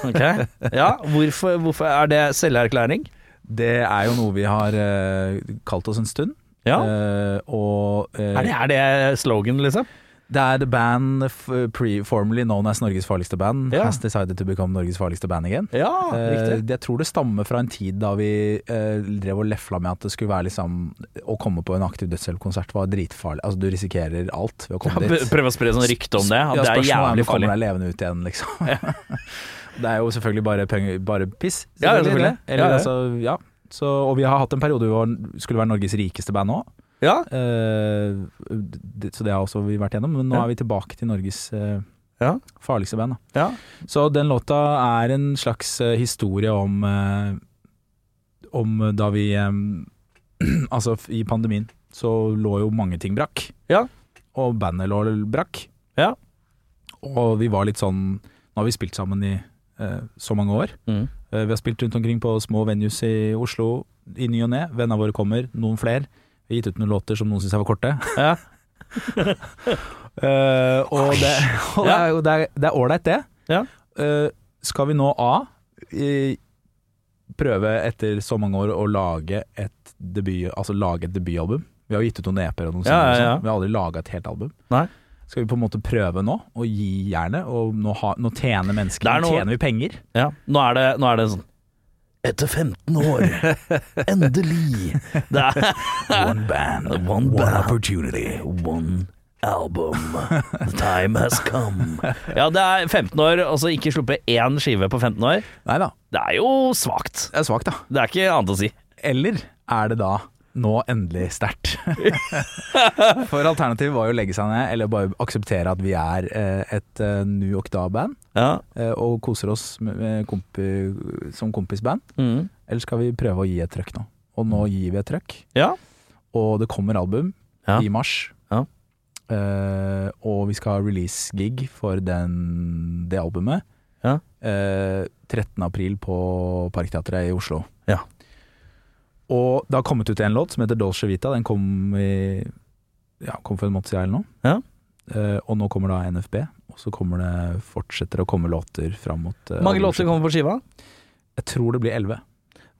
Ok. Ja, hvorfor, hvorfor er det selverklæring? Det er jo noe vi har eh, kalt oss en stund. Ja. Eh, og eh, Er det, er det slogan, liksom? det er the band f pre formerly known as Norges farligste band Ja. Ah, has decided to become Norges farligste band again. Ja, Eh, jeg tror det stammer fra en tid da vi eh, drev og lefla med at det skulle være liksom Å komme på en aktiv dødshjelpkonsert var dritfarlig. Altså, du risikerer alt ved å komme dit. Prøve å spre sånn rykte om det. At det Ja, er spørsmålet om du jævlig farlig. Kommer deg levende ut igjen, liksom. det er jo selvfølgelig bare, penger, bare piss. Ja, ja, selvfølgelig. Eller, Ja, ja. Altså, ja. Så, og vi har hatt en periode hvor vi skulle være Norges rikeste band òg, Ja. så det har også vi vært gjennom. Men nå Ja. er vi tilbake til Norges eh, Ja. farligste band. Da. ja. Så den låta er en slags eh, historie om eh, Om da vi eh, Altså, f- i pandemien så lå jo mange ting brakk. Ja. Og bandet lå brakk. Ja. Og vi var litt sånn Nå har vi spilt sammen i eh, så mange år. Mm. Eh, vi har spilt rundt omkring på små venues i Oslo i ny og ne. Vennene våre kommer, noen flere. Vi har gitt ut noen låter som noen syns var korte. Ja. Eh, og det, og det, er, jo- det, er, det er ålreit, det. Ja. Eh, skal vi nå A, i, prøve etter så mange år å lage et, debut, altså lage et debutalbum? Vi har jo gitt ut noen EP-er og noen Ja, singler og ja, ja. sånn. Vi har aldri laga et helt album. Nei. Skal vi på en måte prøve nå, og gi jernet? Og nå, ha, nå tjener mennesker, Det er nå noe- tjener vi penger. Ja, nå er det, nå er det sånn Etter 15 år, endelig Det er One band, one band. opportunity. One album The time has come Ja, det er 15 år, og så ikke sluppe én skive på 15 år Nei da, Det er jo svagt det er svakt, da. Det er ikke annet å si Eller er det da nå endelig sterkt? For alternativet var jo å legge seg ned, eller bare akseptere at vi er eh, et eh, New York Da-band, Ja, eh, og koser oss med, med kompi, som kompisband. mm. Eller skal vi prøve å gi et trøkk nå? Og nå gir vi et trøkk, ja. og det kommer album Ja. i mars. Ja. Eh, og vi skal ha release-gig for den, det albumet Ja. eh, 13. april på Parkteatret i Oslo. Ja. Og det har kommet ut en låt som heter Dolce Vita. Den kom, i, ja, kom for en måned siden eller noe. Ja. Eh, og nå kommer da NFB, og så kommer det, fortsetter det å komme låter fram mot eh, Mange albumet. låter kommer på skiva Jeg tror det blir elleve.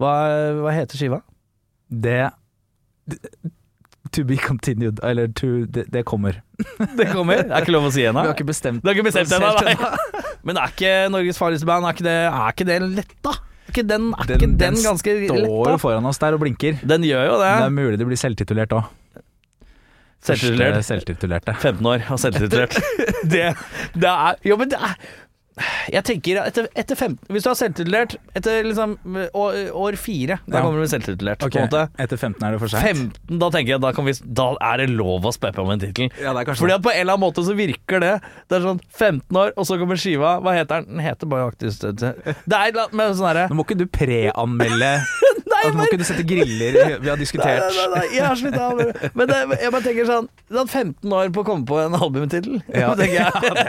hva, hva heter skiva? Det To be continued, eller to, det, det kommer. Det kommer, det er ikke lov å si ennå Vi har ikke bestemt Du har ikke bestemt oss ennå, helt nei Men er ikke Norges farligste band Er ikke det, er ikke det lett da? Er ikke den, er Den- ikke den, den ganske Står jo lett da? foran oss der og blinker. Den gjør jo det Men det er mulig det blir selvtitulert òg. Selvtitulert. Selvtitulerte. 15 år og selvtitulert. Det, det er Jo, men det er Jeg tenker at etter, etter 15 Hvis du har selvtitulert etter liksom år, år fire, da Ja. kommer du med selvtitulert. Ok, På en måte. Etter 15 er det for seint. 15, da tenker jeg da, kan vi, da er det lov å speppe om en tittel. Ja, det er kanskje Fordi at på en eller annen måte så virker det Det er sånn 15 år, og så kommer skiva. Hva heter den? Den heter bare Aktiv støtte. Det er et eller annet med sånn herre Nå må ikke du preanmelde Nei, altså, Nå må ikke du sette griller vi har Nei, diskutert. nei, nei, jeg har sluttet å ha det. Men det, jeg bare tenker sånn Du har hatt 15 år på å komme på en albumtittel. Ja. tenker jeg.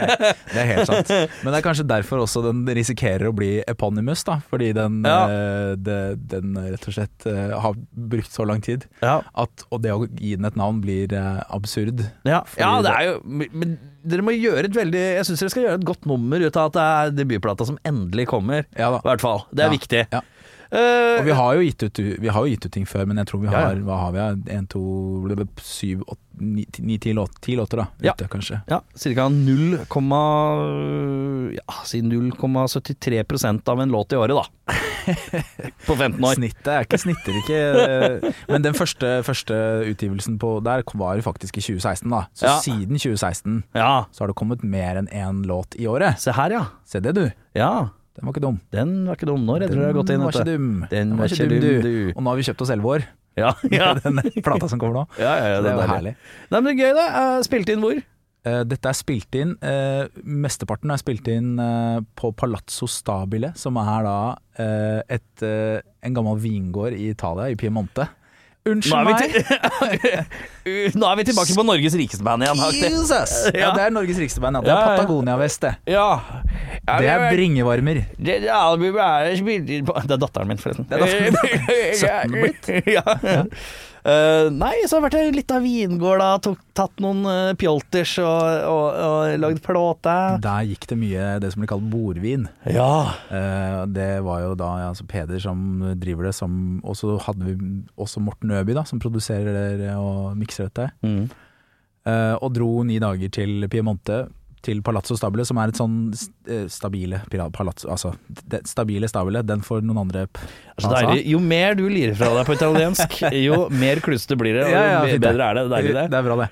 Det er helt sant. Men det er kanskje derfor også den risikerer å bli eponymous, da. Fordi den, Ja. eh, det- den rett og slett eh, har brukt så lang tid Ja. at Og det å gi den et navn blir eh, absurd. Ja, Fordi ja det det- er jo Men dere må gjøre et veldig Jeg syns dere skal gjøre et godt nummer ut av at det er debutplata som endelig kommer. Ja I hvert fall. Det er Ja, viktig. ja. Eh, Og vi har jo gitt ut, vi har jo gitt ut ting før, men jeg tror vi Ja, ja. har Hva har vi? ja? En, to, ble det syv, åtte, ni, ti- ni, ti, låt, ti låter, da. Ja. Ute, kanskje. ja, Ca. 0, ja, si 0,73 av en låt i året, da. På 15 år. Snittet er ikke snitter ikke eh, Men den første, første utgivelsen på der kom- var jo faktisk i 2016, da. Så Ja. siden 2016 Ja. så har det kommet mer enn én låt i året. Se her, ja. Se det, du. Ja, Den var ikke dum. Den var ikke dum. Nå redder Den dere dere godt inn. var vet ikke du. dum. Den var ikke dum, du. Og nå har vi kjøpt oss elleve år. Ja, ja. Den plata som kommer nå. ja, ja, ja det er jo deilig. herlig. Nei, men det er gøy, da. Eh, Spilte inn hvor? Eh, Dette er spilt inn eh, Mesteparten er spilt inn eh, på Palazzo Stabile, som er da eh, et, eh, en gammel vingård i Italia, i Piemonte. Nå Unnskyld er, vi meg! til, nå er vi tilbake på Norges rikeste band igjen. aktig. Jesus! Ja, Ja. det er Norges rikeste band. Ja. Det Ja, er ja. Patagonia-vest, det. Ja. Ja, Det er men- bringevarmer. Det, det albumet er spilt inn på Det er datteren min, forresten. Det er datteren din. 17 blitt. ja. Eh, nei, så har jeg vært i litt av vingård, da. Tok, tatt noen eh, pjolters og, og, og lagd plåte. Der gikk det mye det som blir kalt bordvin. Ja. Eh, Det var jo da ja, altså Peder som driver det, som, og så hadde vi også Morten Øby, da, som produserer det og mikser dette. Mm. Eh, og dro ni dager til Piemonte, til Palazzo Stabile, som er et sånn eh, stabile pira- palazzo, altså det stabile stabile, den får noen andre p- Så altså. deilig. Jo mer du lirer fra deg på italiensk, jo mer kluste blir det. Og jo mer- fint bedre er det. Deilig, det. Det er bra, det.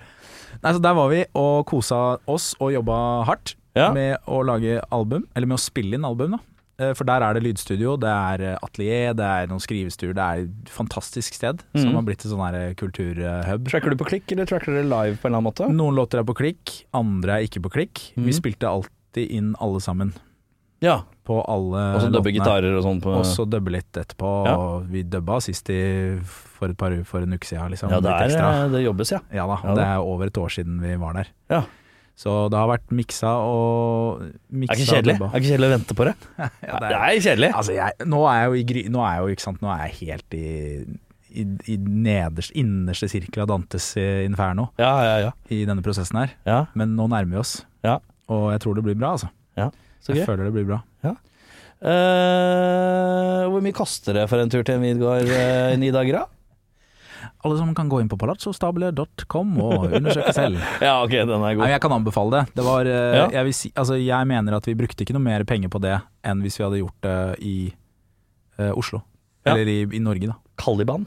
Nei, så der var vi og kosa oss og jobba hardt Ja. med å lage album, eller med å spille inn album, da. Eh, For der er det lydstudio, det er eh, atelier, det er noen skrivestuer, det er et fantastisk sted Mhm. som har blitt et sånn her kulturhub. Tracker du på klikk, eller tracker du live på en eller annen måte? Noen låter er på klikk, andre er ikke på klikk. Mhm. Vi spilte alltid inn alle sammen. Ja. På alle Og så dubbe låtene. gitarer og sånn på Og så dubbe litt etterpå. Ja. Og vi dubba sist i, for, et par, for en uke siden. Liksom, Ja, det, litt er, ekstra. eh, det jobbes, ja. Ja da, Ja da. det er over et år siden vi var der. Ja. Så det har vært miksa og miksa Er ikke kjedelig? og Er dubba. ikke kjedelig å vente på det? Ja, det Det er, er kjedelig. altså jeg, nå er jeg jo i gry... Nå er jeg jo, ikke sant, nå er jeg helt i i, i nederste, innerste sirkel av Dantes eh, inferno Ja, ja, ja. i denne prosessen her. ja. Men nå nærmer vi oss, Ja. og jeg tror det blir bra, altså. Så gøy. Jeg føler det blir bra. Eh, hvor mye koster det for en tur til en Midgård eh, i ni dager, da? Alle sammen kan gå inn på palazzostabile.com og undersøke selv. Ja, ok, den er Nei, men jeg kan anbefale det. det var, eh, Ja. jeg, vil si, altså, jeg mener at vi brukte ikke noe mer penger på det enn hvis vi hadde gjort det i eh, Oslo. Ja. Eller i, i Norge, da. Caliban,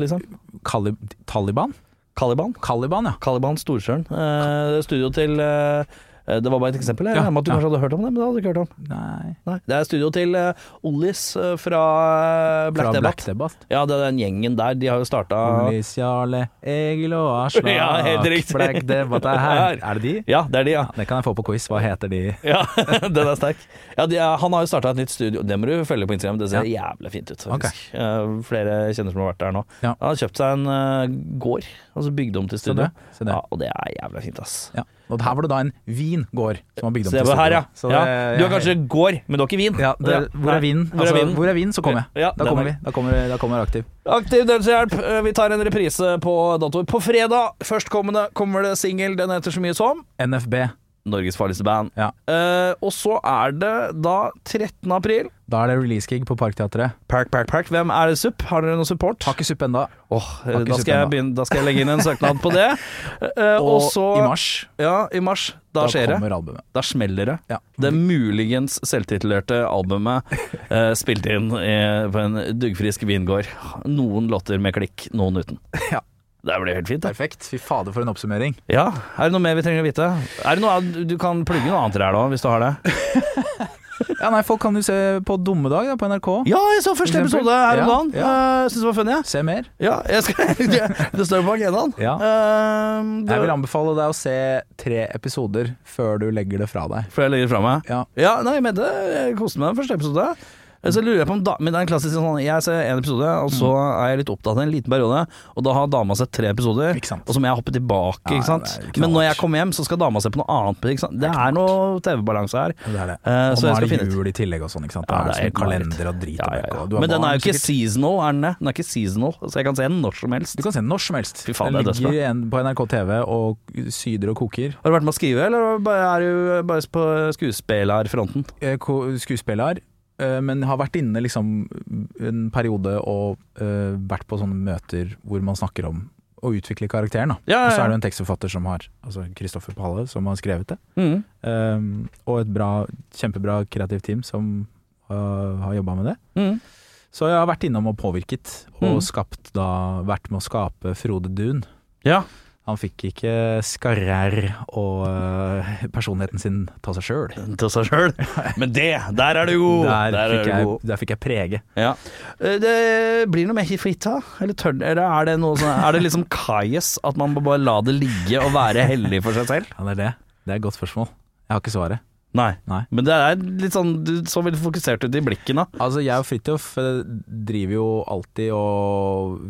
liksom. Kali Taliban? Caliban. Caliban, ja. Caliban Storsjøen. Eh, studio til eh, Det var bare et eksempel. Jeg Ja, regner med at du ja. kanskje hadde hørt om det, men det hadde du ikke hørt om. Nei. Nei. Det er studio til eh, Ollis eh, fra eh, Black Fra Black Debate. Debbath. Ja, det er den gjengen der. De har jo starta Ullis Jarle, Egil og Aslak. Ja, helt riktig. Black Debbath er her. Er det de? Ja, det er de, ja. Det kan jeg få på quiz. Hva heter de? Ja, den er sterk. Ja, de, er- han har jo starta et nytt studio. Det må du følge på Instagram. Det ser jævlig fint ut. Ok. faktisk. Eh, flere kjenner som har vært der nå. Ja. Han har kjøpt seg en eh, gård, altså bygd om til Se studio. det. Se det. Ja, og det er jævlig fint, ass. Ja. Og her var det da en vingård som var bygd om Så det til var her, ja. studio. Så ja. det- Du har kanskje gård, men du har ikke vin. ja, det, hvor er Hvor er vinen? vinen? Altså, hvor er vinen, så kommer jeg. Ja, Da den kommer er- vi. Da kommer, da kommer aktiv. Aktiv dødshjelp. Eh, Vi tar en reprise på datoer. På fredag førstkommende kommer det singel. Den heter så mye som NFB. Norges farligste band. Ja. Eh, og så er det da 13. april. Da er det release-gig på Parkteatret. Park, park, park. Hvem er det supp? Har dere noe support? Har ikke suppe ennå. Åh, ikke da, skal sett jeg den da. begynne, da skal jeg legge inn en søknad på det. Eh, Og og så i mars, Ja, i mars. Da, skjer det. kommer albumet. Da smeller det. Ja. Det muligens selvtitulerte albumet eh, spilt inn i, på en duggfrisk vingård. Noen låter med klikk, noen uten. Ja. Det blir helt fint. Da. Perfekt. Fy fader, for en oppsummering. Ja, Er det noe mer vi trenger å vite? Er det noe annet- Du kan plugge noe annet til det her da, hvis du har det. Ja, nei, Folk kan jo se på Dommedag da, på NRK. Ja, jeg så første For eksempel. episode her om Ja, dagen. Ja, Syns Eh, det var funny. jeg. Se mer. Ja, jeg skal, det står på agendaen. Ja. Eh, det- Jeg vil anbefale deg å se tre episoder før du legger det fra deg. Før jeg legger det fra meg? Ja. nei, men det jeg koste meg den første episode. Så lurer jeg på om da, men det er en klassisk sånn Jeg ser en episode, og så er jeg litt opptatt i en liten periode. Og da har dama sett tre episoder, Ikke sant. og så må jeg hoppe tilbake. Ja, ikke sant? det er knallhardt. men når jeg kommer hjem, så skal dama se på noe annet. Ikke sant? Det er noe TV-balanse her. Det er det. Eh, og så nå jeg skal er det finne ut. jul i tillegg og sånn, ikke sant. Ja, Da er det er det sånn helt kalender og drit Ja, og ja, møkk, ja. og du er Men den barn, er jo ikke sikkert. seasonal, er den det? Den er ikke seasonal, så jeg kan se den når som helst. Du kan se den når som helst. Fy faen, den det er ligger igjen på NRK TV og syder og koker. Har du vært med å skrive, eller bare- er du bare på skuespillerfronten? eh, ko- skuespiller, eh, men har vært inne liksom en periode og eh, vært på sånne møter hvor man snakker om å utvikle karakteren. Da. Ja, Og så ja, er ja. det en tekstforfatter som har, altså Kristoffer Palle, som har skrevet det. Mm. Um, og et bra, kjempebra kreativt team som eh, har jobba med det. Mm. Så jeg har vært innom og påvirket, og Mm. skapt da, vært med å skape Frode Dun. Ja. Han fikk ikke skarrer og eh, personligheten sin ta seg sjøl. til seg sjøl. Men det, Mm. der er du god! Der, er fikk du jeg- god. der fikk jeg prege. Ja. Eh, Det blir noe mer hit for hit, da? Eller, tør, eller er det noe sånn Er det liksom kajas at man må bare la det ligge og være heldig for seg selv? Ja, det er det. Det er et godt spørsmål. Jeg har ikke svaret. Nei. Nei. Men det er litt sånn Du så veldig fokusert ut i blikken, da. Altså, jeg og Fridtjof eh, driver jo alltid og,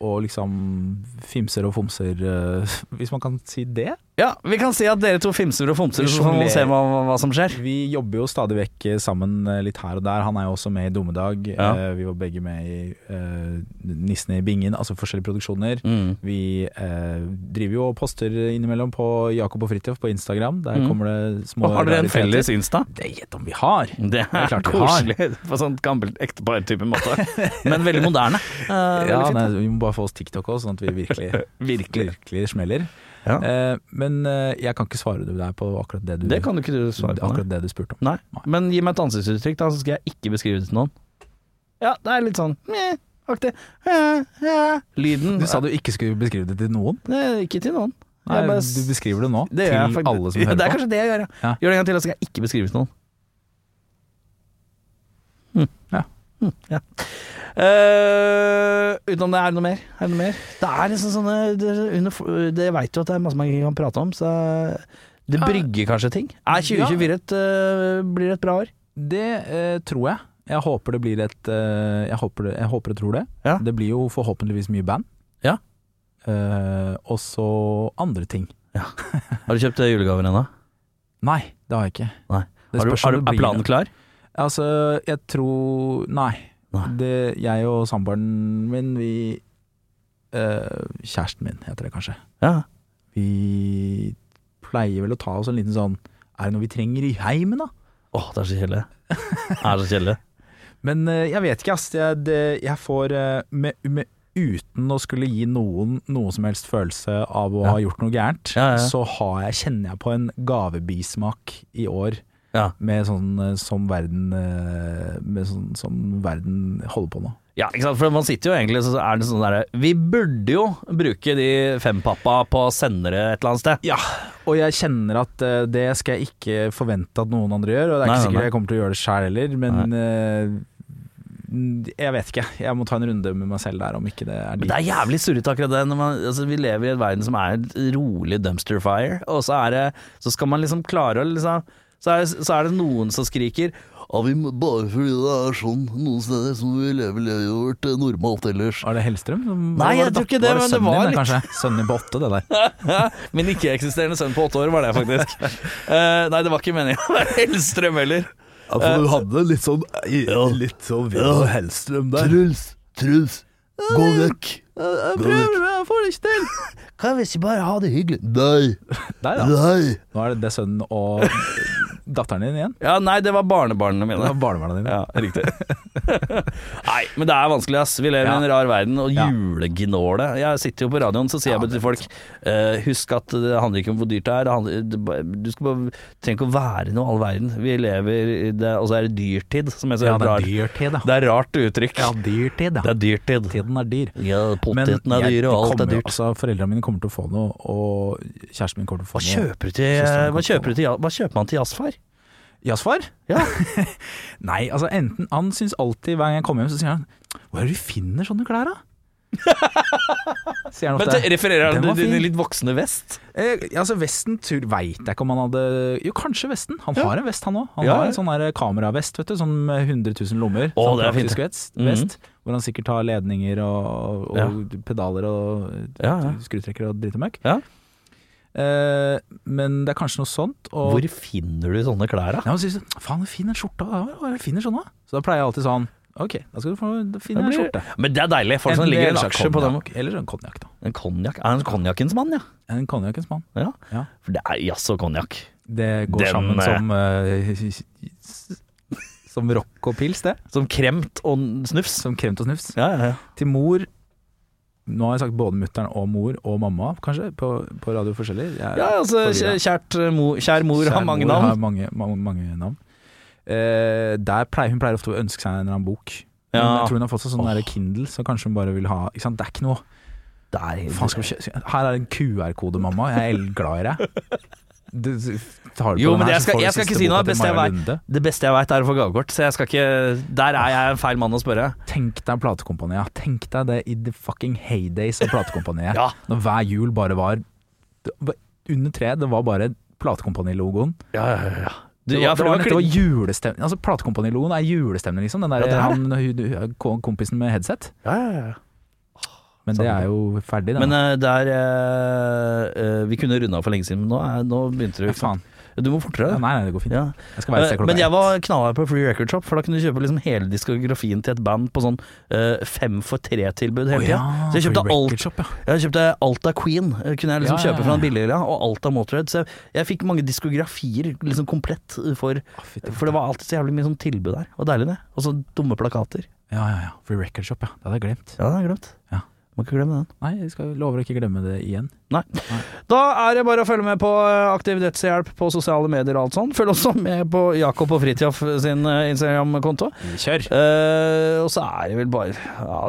og liksom fimser og fomser, eh, hvis man kan si det. Ja, vi kan si at dere to fimser og fomser, så får vi se hva, hva som skjer. Vi jobber jo stadig vekk sammen eh, litt her og der. Han er jo også med i Dommedag. Ja. Eh, Vi var begge med i eh, Nissene i bingen, altså forskjellige produksjoner. Mm. Vi eh, driver jo og poster innimellom på Jakob og Fridtjof på Instagram. Der Mm. kommer det små Og har dere en rariteter. felles Insta? Det gjett om vi har! Det er er klart vi koselig på sånn gammel ektepar-type måte. Men veldig moderne. Eh, Ja, veldig fint. nei, vi må bare få oss TikTok òg, sånn at vi virkelig, Virkelig. virkelig smeller. Ja. Eh, men eh, jeg kan ikke svare deg på akkurat det du, Det kan du ikke du svare på. nei. akkurat det du spurte om. Nei. Men gi meg et ansiktsuttrykk, da, så skal jeg ikke beskrive det til noen. Ja, det er litt sånn meh, aktig. Eh, eh. Lyden Du sa du ikke skulle beskrive det til noen. Nei, Ikke til noen. Nei, Jeg bare- du beskriver det nå Det gjør jeg til faktisk. alle som Ja, Det er hører på. kanskje det jeg gjør, ja. Ja. Gjør det en gang til, så skal jeg ikke beskrive det til noen. Hm. Ja. Hm, ja. Eh, utenom det, er det noe mer? Er det noe mer? Det er liksom sånne Det, under- det veit jo at det er masse man ikke kan prate om, så det Ja. brygger kanskje ting. Er 2024 et, eh, blir et bra år? Det eh, tror jeg. Jeg håper det blir et eh, jeg, håper det, jeg håper og tror det. Ja. Det blir jo forhåpentligvis mye band. Ja. Eh, og så andre ting. Har du kjøpt eh, julegaver ennå? Nei, det har jeg ikke. Nei. Det Har du, spørs om har du, det er blir planen noe. klar? Altså, jeg tror Nei. Nei. Det, jeg og samboeren min, vi eh, Kjæresten min, heter det kanskje. Ja. Vi pleier vel å ta oss en liten sånn Er det noe vi trenger i heimen, da? Åh, det er så kjedelig. Det er så kjedelig. Men eh, jeg vet ikke, ass. Jeg, det, jeg får eh, med, med, Uten å skulle gi noen noe som helst følelse av å Ja. ha gjort noe gærent, Ja, ja, ja. så har jeg, kjenner jeg på en gavebismak i år Ja. med sånn eh, som verden eh, Med sånn som verden holder på nå. Ja, ikke sant? for man sitter jo egentlig så er det sånn der, Vi burde jo bruke de fempappa på sendere et eller annet sted. Ja, og jeg kjenner at eh, det skal jeg ikke forvente at noen andre gjør, og Nei, det er ikke nei, sikkert nei. jeg kommer til å gjøre det sjøl heller, men eh, jeg vet ikke. Jeg må ta en runde med meg selv der om ikke det er Men dit. det er jævlig surrete akkurat det. Når man, altså, vi lever i en verden som er et rolig dumpster fire, og så, er det, så skal man liksom klare å liksom så er, så er det noen som skriker Ja, vi, må- bare fordi det er sånn noen steder, så må vi leve livet vårt eh, normalt ellers. Var det Hellstrøm? som- Nei, jeg var tror ikke datter- det, men det sønnen var din, litt- Kanskje. Sønnen din på åtte, det der. Min ikke-eksisterende sønn på åtte år var det, faktisk. Eh, nei, det var ikke meningen. Det var Hellstrøm heller. Eh, Ja, for du hadde litt sånn ja. Litt sånn Vidar Hellstrøm der. Truls, Truls, gå vekk. eh, Gå vekk. jeg får det ikke til! Kan vi ikke bare ha det hyggelig? Nei, Der, ja. nei. Nå er det det sønnen og datteren din igjen. Ja, nei, det var barnebarna Det mine. var barnebarna dine. Ja, riktig. Nei, men det er vanskelig, ass. Vi lever i en rar verden, og Ja. julegnåle Jeg sitter jo på radioen, så sier jeg til folk eh, Husk at det handler ikke om hvor dyrt det er. Det handler, det, bare- du skal bare, trenger ikke å være noe all verden. Vi lever i det, Og så er det dyrtid, som jeg sier. Ja, det er rart. dyrtid, da. det er rart uttrykk. Ja, dyrtid, ja. Det er dyrtid. Tiden er dyr. Ja, Men Poteten er jeg- dyr, og det alt er kommer jo- dyrt. Altså, Foreldrene mine kommer til å få noe, og kjæresten min kommer til å få Hva noe. kjøper, du til, hva, kjøper du til, hva kjøper man til jazzfar? Jazzfar? Ja. Nei, altså enten Han syns alltid hver gang jeg kommer hjem, så sier han Hvor er det du finner sånne klær, da? sier han ofte. refererer Den var til din fin. litt voksne vest? Eh, altså Vesten tur veit jeg ikke om han hadde Jo, kanskje Vesten. Han har en vest, han òg. Han Ja, har ja. en sånn der kameravest, vet du. Sånn med 100 000 lommer. Å, sånn det er fint, Mhm. praktisk det. Vest, vest, Hvor han sikkert har ledninger og, og pedaler og Ja, ja. skrutrekkere og dritt og møkk. Ja. Eh, men det er kanskje noe sånt. Og Hvor finner du sånne klær, da? Ja, men så sier du, faen, fin den skjorta der var. Hvor er det fin den sånn da? Så da pleier jeg alltid sånn, ok, da skal du få da finner jeg en skjorte. Men det er deilig. Folk som Enten det ligger i en eller aksje på dem. konjakk, Eller en konjakk da. En konjakk? Er han konjakkens mann, ja? En konjakkens mann. ja. Ja. For det er jazz og konjakk. Det går Den, sammen eh, som, eh, som rock og pils det. Som kremt og snufs. Som kremt og snufs. Ja, ja, ja. Til mor, nå har jeg sagt både mutteren og mor og mamma, kanskje, på, på radio forskjellig. Jeg- ja altså, forvirret. kjært mo, kjær mor Kjære har mange mor Har navn. mange, mange, mange navn. Eh, der pleier, hun pleier ofte å ønske seg en eller annen bok. Men Ja. Jeg tror hun har fått seg sånn der Kindle, så kanskje hun bare vil ha ikke sant? Det er ikke noe Det er helt- Faen, skal vi kjø- Her er en QR-kode, mamma. Jeg er glad i deg. Du tar det på Jo, den men her, jeg så skal, får du jeg skal siste ikke si noe. boka Det beste til jeg Maja vet- Lunde. det beste jeg veit, er å få gavekort. Så jeg skal ikke Der er jeg feil mann å spørre. Tenk deg platekompaniet. Tenk deg det i the fucking heydays av platekompaniet. Ja. Når hver jul bare var det var Under treet, det var bare platekompanilogoen. Ja, ja, ja. Du, Det var, ja, det for var, det det var var julestemning Altså Platekompanilogoen er julestemning, liksom. Den der Ja, det er han, hun- hun- kompisen med headset. ja, ja, ja. Men det er jo ferdig, den. Men eh, det er eh, eh, Vi kunne runda for lenge siden, men nå, er, nå begynte du. ja, Ikke sant? faen. Du må Ja, fortere. nei, nei, det går fint. eh, Ja. Jeg skal være et sted Eh, Men klokka jeg ett. var knallhard på Free Record Shop, for da kunne du kjøpe liksom hele diskografien til et band på sånn eh, fem for tre-tilbud hele Å tida. ja, så jeg kjøpte Free Record alt. Shop, ja. Jeg kjøpte alt av Queen, eh, kunne jeg liksom Ja, ja, kjøpe fra en ja. billigere, og alt av Motorhead. Så jeg, jeg fikk mange diskografier liksom komplett eh, for Å, fytti For det var alltid så jævlig mye sånn tilbud der. Og deilig, det. Og så dumme plakater. Ja, ja, ja. Free Record Shop, ja. Det hadde jeg glemt. Ja, det har jeg glemt. Ja. Må ikke glemme den. Nei, jeg skal lover å ikke glemme det igjen. Da er det bare å følge med på eh, Aktiv Dødshjelp på sosiale medier og alt sånt. Følg også med på Jakob og Fridtjof sin eh, Instagram-konto. Kjør! Eh, og så er det vel bare ja,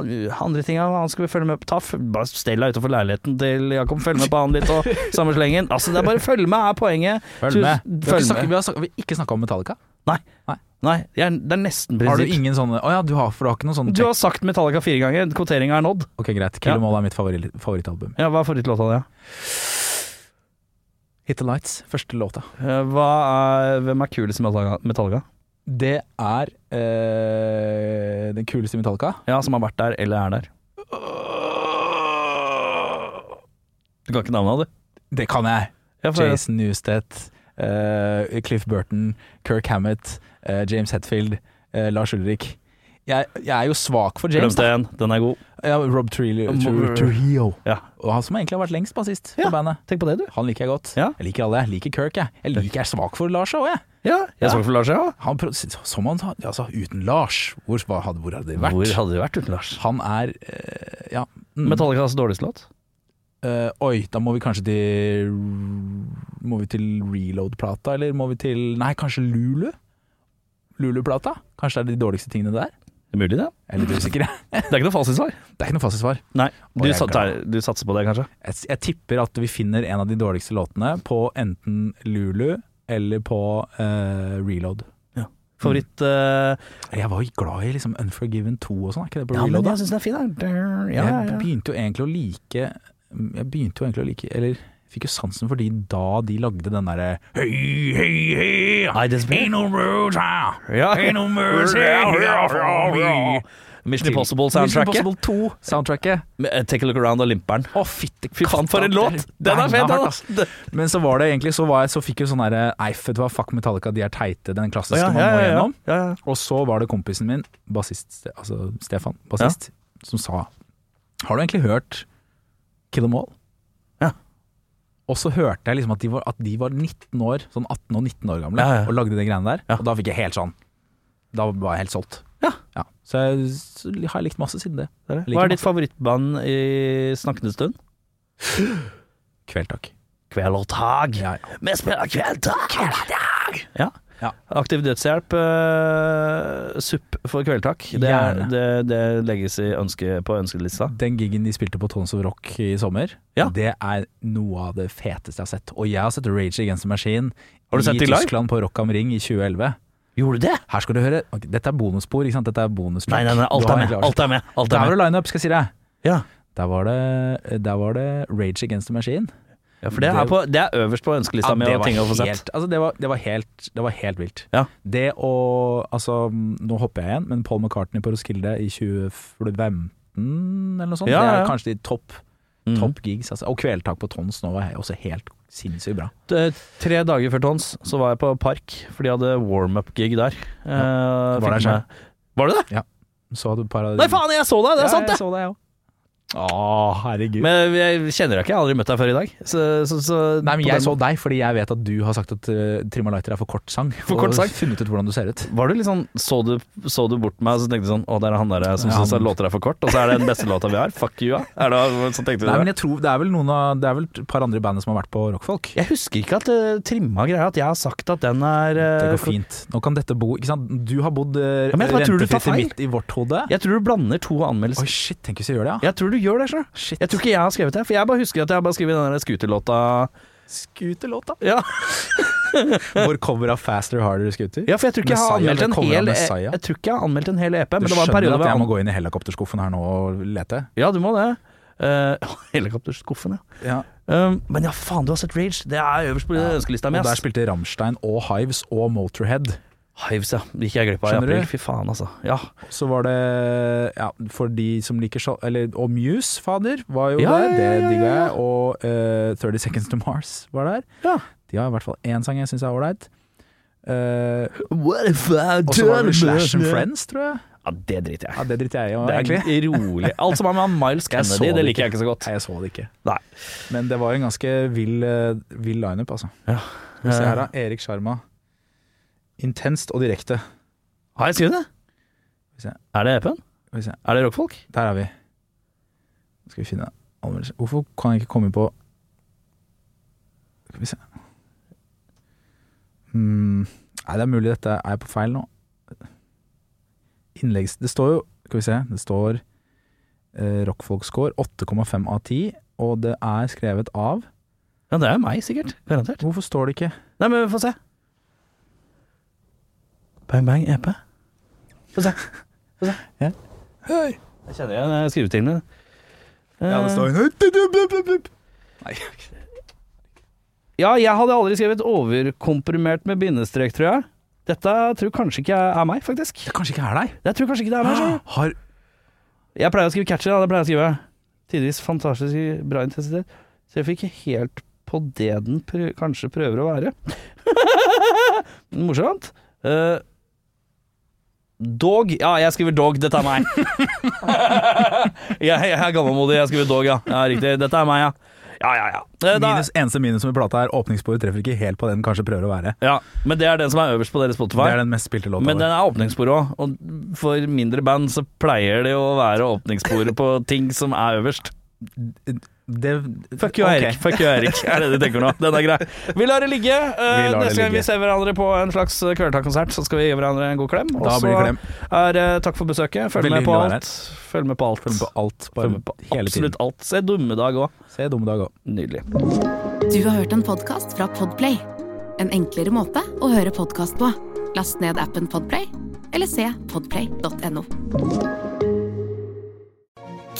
andre ting han skal vi følge med på. Ta, f- bare stell deg utenfor leiligheten til Jakob, følg med på han litt og samme slengen. Altså, det er bare følg med er poenget. Følg med. Tusen- Vi har ikke, Følg snakket, med. vi har snakket, vi har ikke snakka om Metallica. Nei, jeg er- det er nesten Har du prinsipp. ingen sånne Å ja, du har, for du har ikke noen sånne Du har sagt Metallica fire ganger, kvoteringa er nådd. Ok, greit. Kill 'Em All er mitt favoritt, favorittalbum. Ja, hva er favorittlåta di? Hit the Lights, første låta. Eh, hva er- Hvem er kulest i Metallica? Metallica? Det er eh, den kuleste i Metallica. Ja, som har vært der eller er der. Du kan ikke navnet av det? Det kan jeg! Ja, for- Jason Newstedt, eh, Cliff Burton, Kirk Hammett, eh, James Hetfield, eh, Lars Ulrik. Jeg, jeg er jo svak for James. Glemte da. en, den er god. Ja, Rob Trujillo. Må- Tru- Trujillo. Ja. Og han som egentlig har vært lengst bassist Ja. for bandet. Tenk på det, du. Han liker jeg godt. Ja. Jeg liker alle. Jeg liker Kirk, jeg. Jeg, liker, jeg er svak for Lars òg, jeg. Ja, jeg så for Lars, ja. Han, prøv- som han, sa, altså, uten Lars, hvor, hva hadde, hvor hadde det vært? Hvor hadde det vært uten Lars? Han er eh, Ja. Mm. Metallicas dårligste låt? Eh, oi, da må vi kanskje til Må vi til Reload-plata, eller må vi til Nei, kanskje Lulu? Lulu-plata? Kanskje det er de dårligste tingene der? Det er mulig, det. Jeg er litt usikker. jeg. Det er ikke noe fasitsvar. Det er ikke noe fasitsvar. Nei. Og Du, jeg er sat, du satser på det, kanskje? Jeg, s- jeg tipper at vi finner en av de dårligste låtene på enten Lulu eller på eh, Reload. Favoritt eh, Jeg var jo glad i liksom Unforgiven 2 og sånn, er ikke det på Ja, men Reload? da? jeg syns den er fin, der. Ja, ja, Jeg ja. begynte jo egentlig å like Jeg begynte jo egentlig å like Eller fikk jo sansen for de da de lagde den derre Hei, hei, hei! I Despair. Ain't no rules, huh? Ja. Ain't no mercy here for me. Mission Impossible-soundtracket. Mission Impossible 2 soundtracket. Med, eh, Take a Look Around og Limperen. Å, fytti Fy faen, for en låt! Den er fet, den! ass. Det- Men så var det egentlig Så, var jeg, så fikk jeg sånn derre Nei, vet du hva, fuck Metallica, de er teite. Den klassiske Ja, man ja, må ja, ja. gjennom. Ja, ja. Og så var det kompisen min, bassist, altså Stefan, bassist, som sa Har du egentlig hørt Kill 'em All? Ja. Og så hørte jeg liksom at de var, at de var 19 år, sånn 18 og 19 år gamle, Ja, ja. og lagde de greiene der. Ja. Og da fikk jeg helt sånn Da var jeg helt solgt. Ja. Så jeg så har jeg likt masse siden det. Det er det. Jeg liker Hva er ditt masse. favorittband i snakkende stund? Kveld, takk. Kveld og tag. Ja, ja. Vi spiller kveld og tag! Ja. Ja. Aktiv dødshjelp, eh, SUP for kveldtak. Det, er, Gjerne. det, det legges i ønske, på ønskelista. Den gigen de spilte på Tons of Rock i sommer, Ja. det er noe av det feteste jeg har sett. Og jeg har sett Rage Against the Machine Har du i sett de live? Tyskland på Rock am Ring i 2011. Gjorde du det? Her skal du høre ok, Dette er bonusspor, ikke sant? Dette er bonustrack. Nei, nei, nei, alt Du har er med. egentlig- Alt er med. Alt Der er var med. det lineup, skal jeg si deg. Ja. Der var det, der var det Rage Against the Machine. Ja, for det er, Det- på, det er øverst på ønskelista mi. det, av ting å få helt, sett. altså det, var, det, var helt, det var helt vilt. Ja. Det og Altså, nå hopper jeg igjen, men Paul McCartney på Roskilde i 2015 eller noe sånt, Ja, ja, det er ja. kanskje de topp Mm. topp gigs. Altså. Og Kvelertak på Tons nå var he- også helt sinnssykt bra. Eh, Tre dager før Tons så var jeg på Park, for de hadde warm-up-gig der. Eh, Var der fikk selv. med- Var du det? Så hadde du et par av de- Nei, faen, jeg så deg! Det er Ja, sant, jeg det! så det, jeg òg. Å, herregud. Men jeg kjenner deg ikke, jeg har aldri møtt deg før i dag. Så, så, så, Nei, men på jeg den- så deg fordi jeg vet at du har sagt at uh, Trimma Lighter er for kort sang. For kort sang? Og funnet ut hvordan du ser ut. Var du litt sånn, så du, så du bort på meg og så tenkte du sånn Å, det er han der som Ja, syns han- låter er for kort, og så er det den beste låta vi har. Fuck you, ja. Er det, så tenkte du Nei, det? men jeg tror Det er vel noen av Det er vel et par andre i bandet som har vært på rockfolk. Jeg husker ikke at det trimma greia at jeg har sagt at den er Det eh, går fint. Nå kan dette bo Ikke sant, du har bodd Ja, uh, men jeg bare tror du tar rentefritt i feil. mitt i vårt hode. Jeg tror du blander to Oi, anmeldelser. shit, tenk hvis jeg gjør det, ja. Jeg tror du gjør det sjøl. Shit. Jeg tror ikke jeg har skrevet det, for jeg bare husker at jeg har bare skrevet den der scooterlåta Scooterlåta. ja. Vår cover av Faster Harder Scooter. ja, for jeg tror ikke jeg har anmeldt Messiah, en eller cover av hel Messiah. Jeg tror ikke jeg har anmeldt en hel EP, Du men det var en skjønner periode at jeg må hvor jeg gå inn i helikopterskuffen her nå og lete? Ja, du må det. Uh, helikopterskuffen, ja. Ja. Um, men ja, faen, du har sett Rage. Det er øverst på ønskelista mi. Og der ass. spilte Rammstein og Hives og Motorhead. Hives, ja. Det gikk jeg glipp av i Skjønner du? april. Fy faen, altså. Ja. Så var det Ja, for de som liker så Eller Og Muse, fader, var jo Ja, ja, der. ja, ja, Det digga ja. jeg. Og eh, 30 Seconds to Mars var der. Ja. De har i hvert fall én sang jeg syns er ålreit. Eh, What if I og så var det turn vel Slash and back? Friends, tror jeg. ja, det driter jeg i. Ja, Det driter jeg i, Det er egentlig. rolig. Alt som har med han Miles Jeg så Kennedy, det det liker jeg ikke så godt. Nei, jeg så det ikke. Nei. Men det var en ganske vill, eh, vill lineup, altså. Ja. Skal vi se her, da. Erik Sjarma. Intenst og direkte. Har jeg skrevet det? vi se. Er det EP-en? Skal vi se. Er det rockfolk? Der er vi. Nå skal vi finne anmeldelsen. Hvorfor kan jeg ikke komme på Skal vi se hmm. Nei, det er mulig dette er på feil nå. Innleggs... Det står jo Skal vi se. Det står eh, Rockfolk-score 8,5 av 10, og det er skrevet av Ja, det er jo meg, sikkert. Garantert. Hvorfor står det ikke Nei, men få se. Bang Bang EP. Få se. Få se. Ja. Hei. Jeg kjenner igjen eh, skrivetimene. Ja, det står Ja, jeg hadde aldri skrevet overkomprimert med bindestrek, tror jeg. Dette tror kanskje ikke jeg er meg, faktisk. Det kanskje ikke er deg. Jeg tror kanskje ikke det er meg. skjønner du. Har Jeg pleier å skrive catchy, da. Det pleier jeg å skrive. Tidvis fantastisk bra intensitet. Så jeg fikk ikke helt på det den prø kanskje prøver å være. Morsomt. Eh, dog. Ja, jeg skriver dog. Dette er meg. jeg, jeg er gammelmodig. Jeg skriver dog, ja. ja. Riktig. Dette er meg, ja. Ja, ja, ja. Eh, da- minus, Eneste minus med plata er åpningssporet treffer ikke helt på det den kanskje prøver å være. ja. Men det er den som er øverst på deres Spotify. Det er den mest spilte låta Men vår. den er åpningsspor òg, og for mindre band så pleier det å være åpningssporet på ting som er øverst. Det, Fuck you, Ok. Eirik. Fuck you, Eirik. Er det du tenker nå? Den er grei. Vi lar det ligge. Eh, Vi lar det Neste gang vi ligge. ser hverandre på en slags kvelertakonsert, så skal vi gi hverandre en god klem. Da blir det klem. er eh, takk for besøket. Følg Veldig med på hyggelig å være alt. Følg med på alt. Følg med på alt, bare Følg med på hele absolutt alt. Se Dummedag òg. tiden. Se Dommedag òg. Nydelig. Du har hørt en podkast fra Podplay. En enklere måte å høre podkast på. Last ned appen Podplay, eller se podplay.no.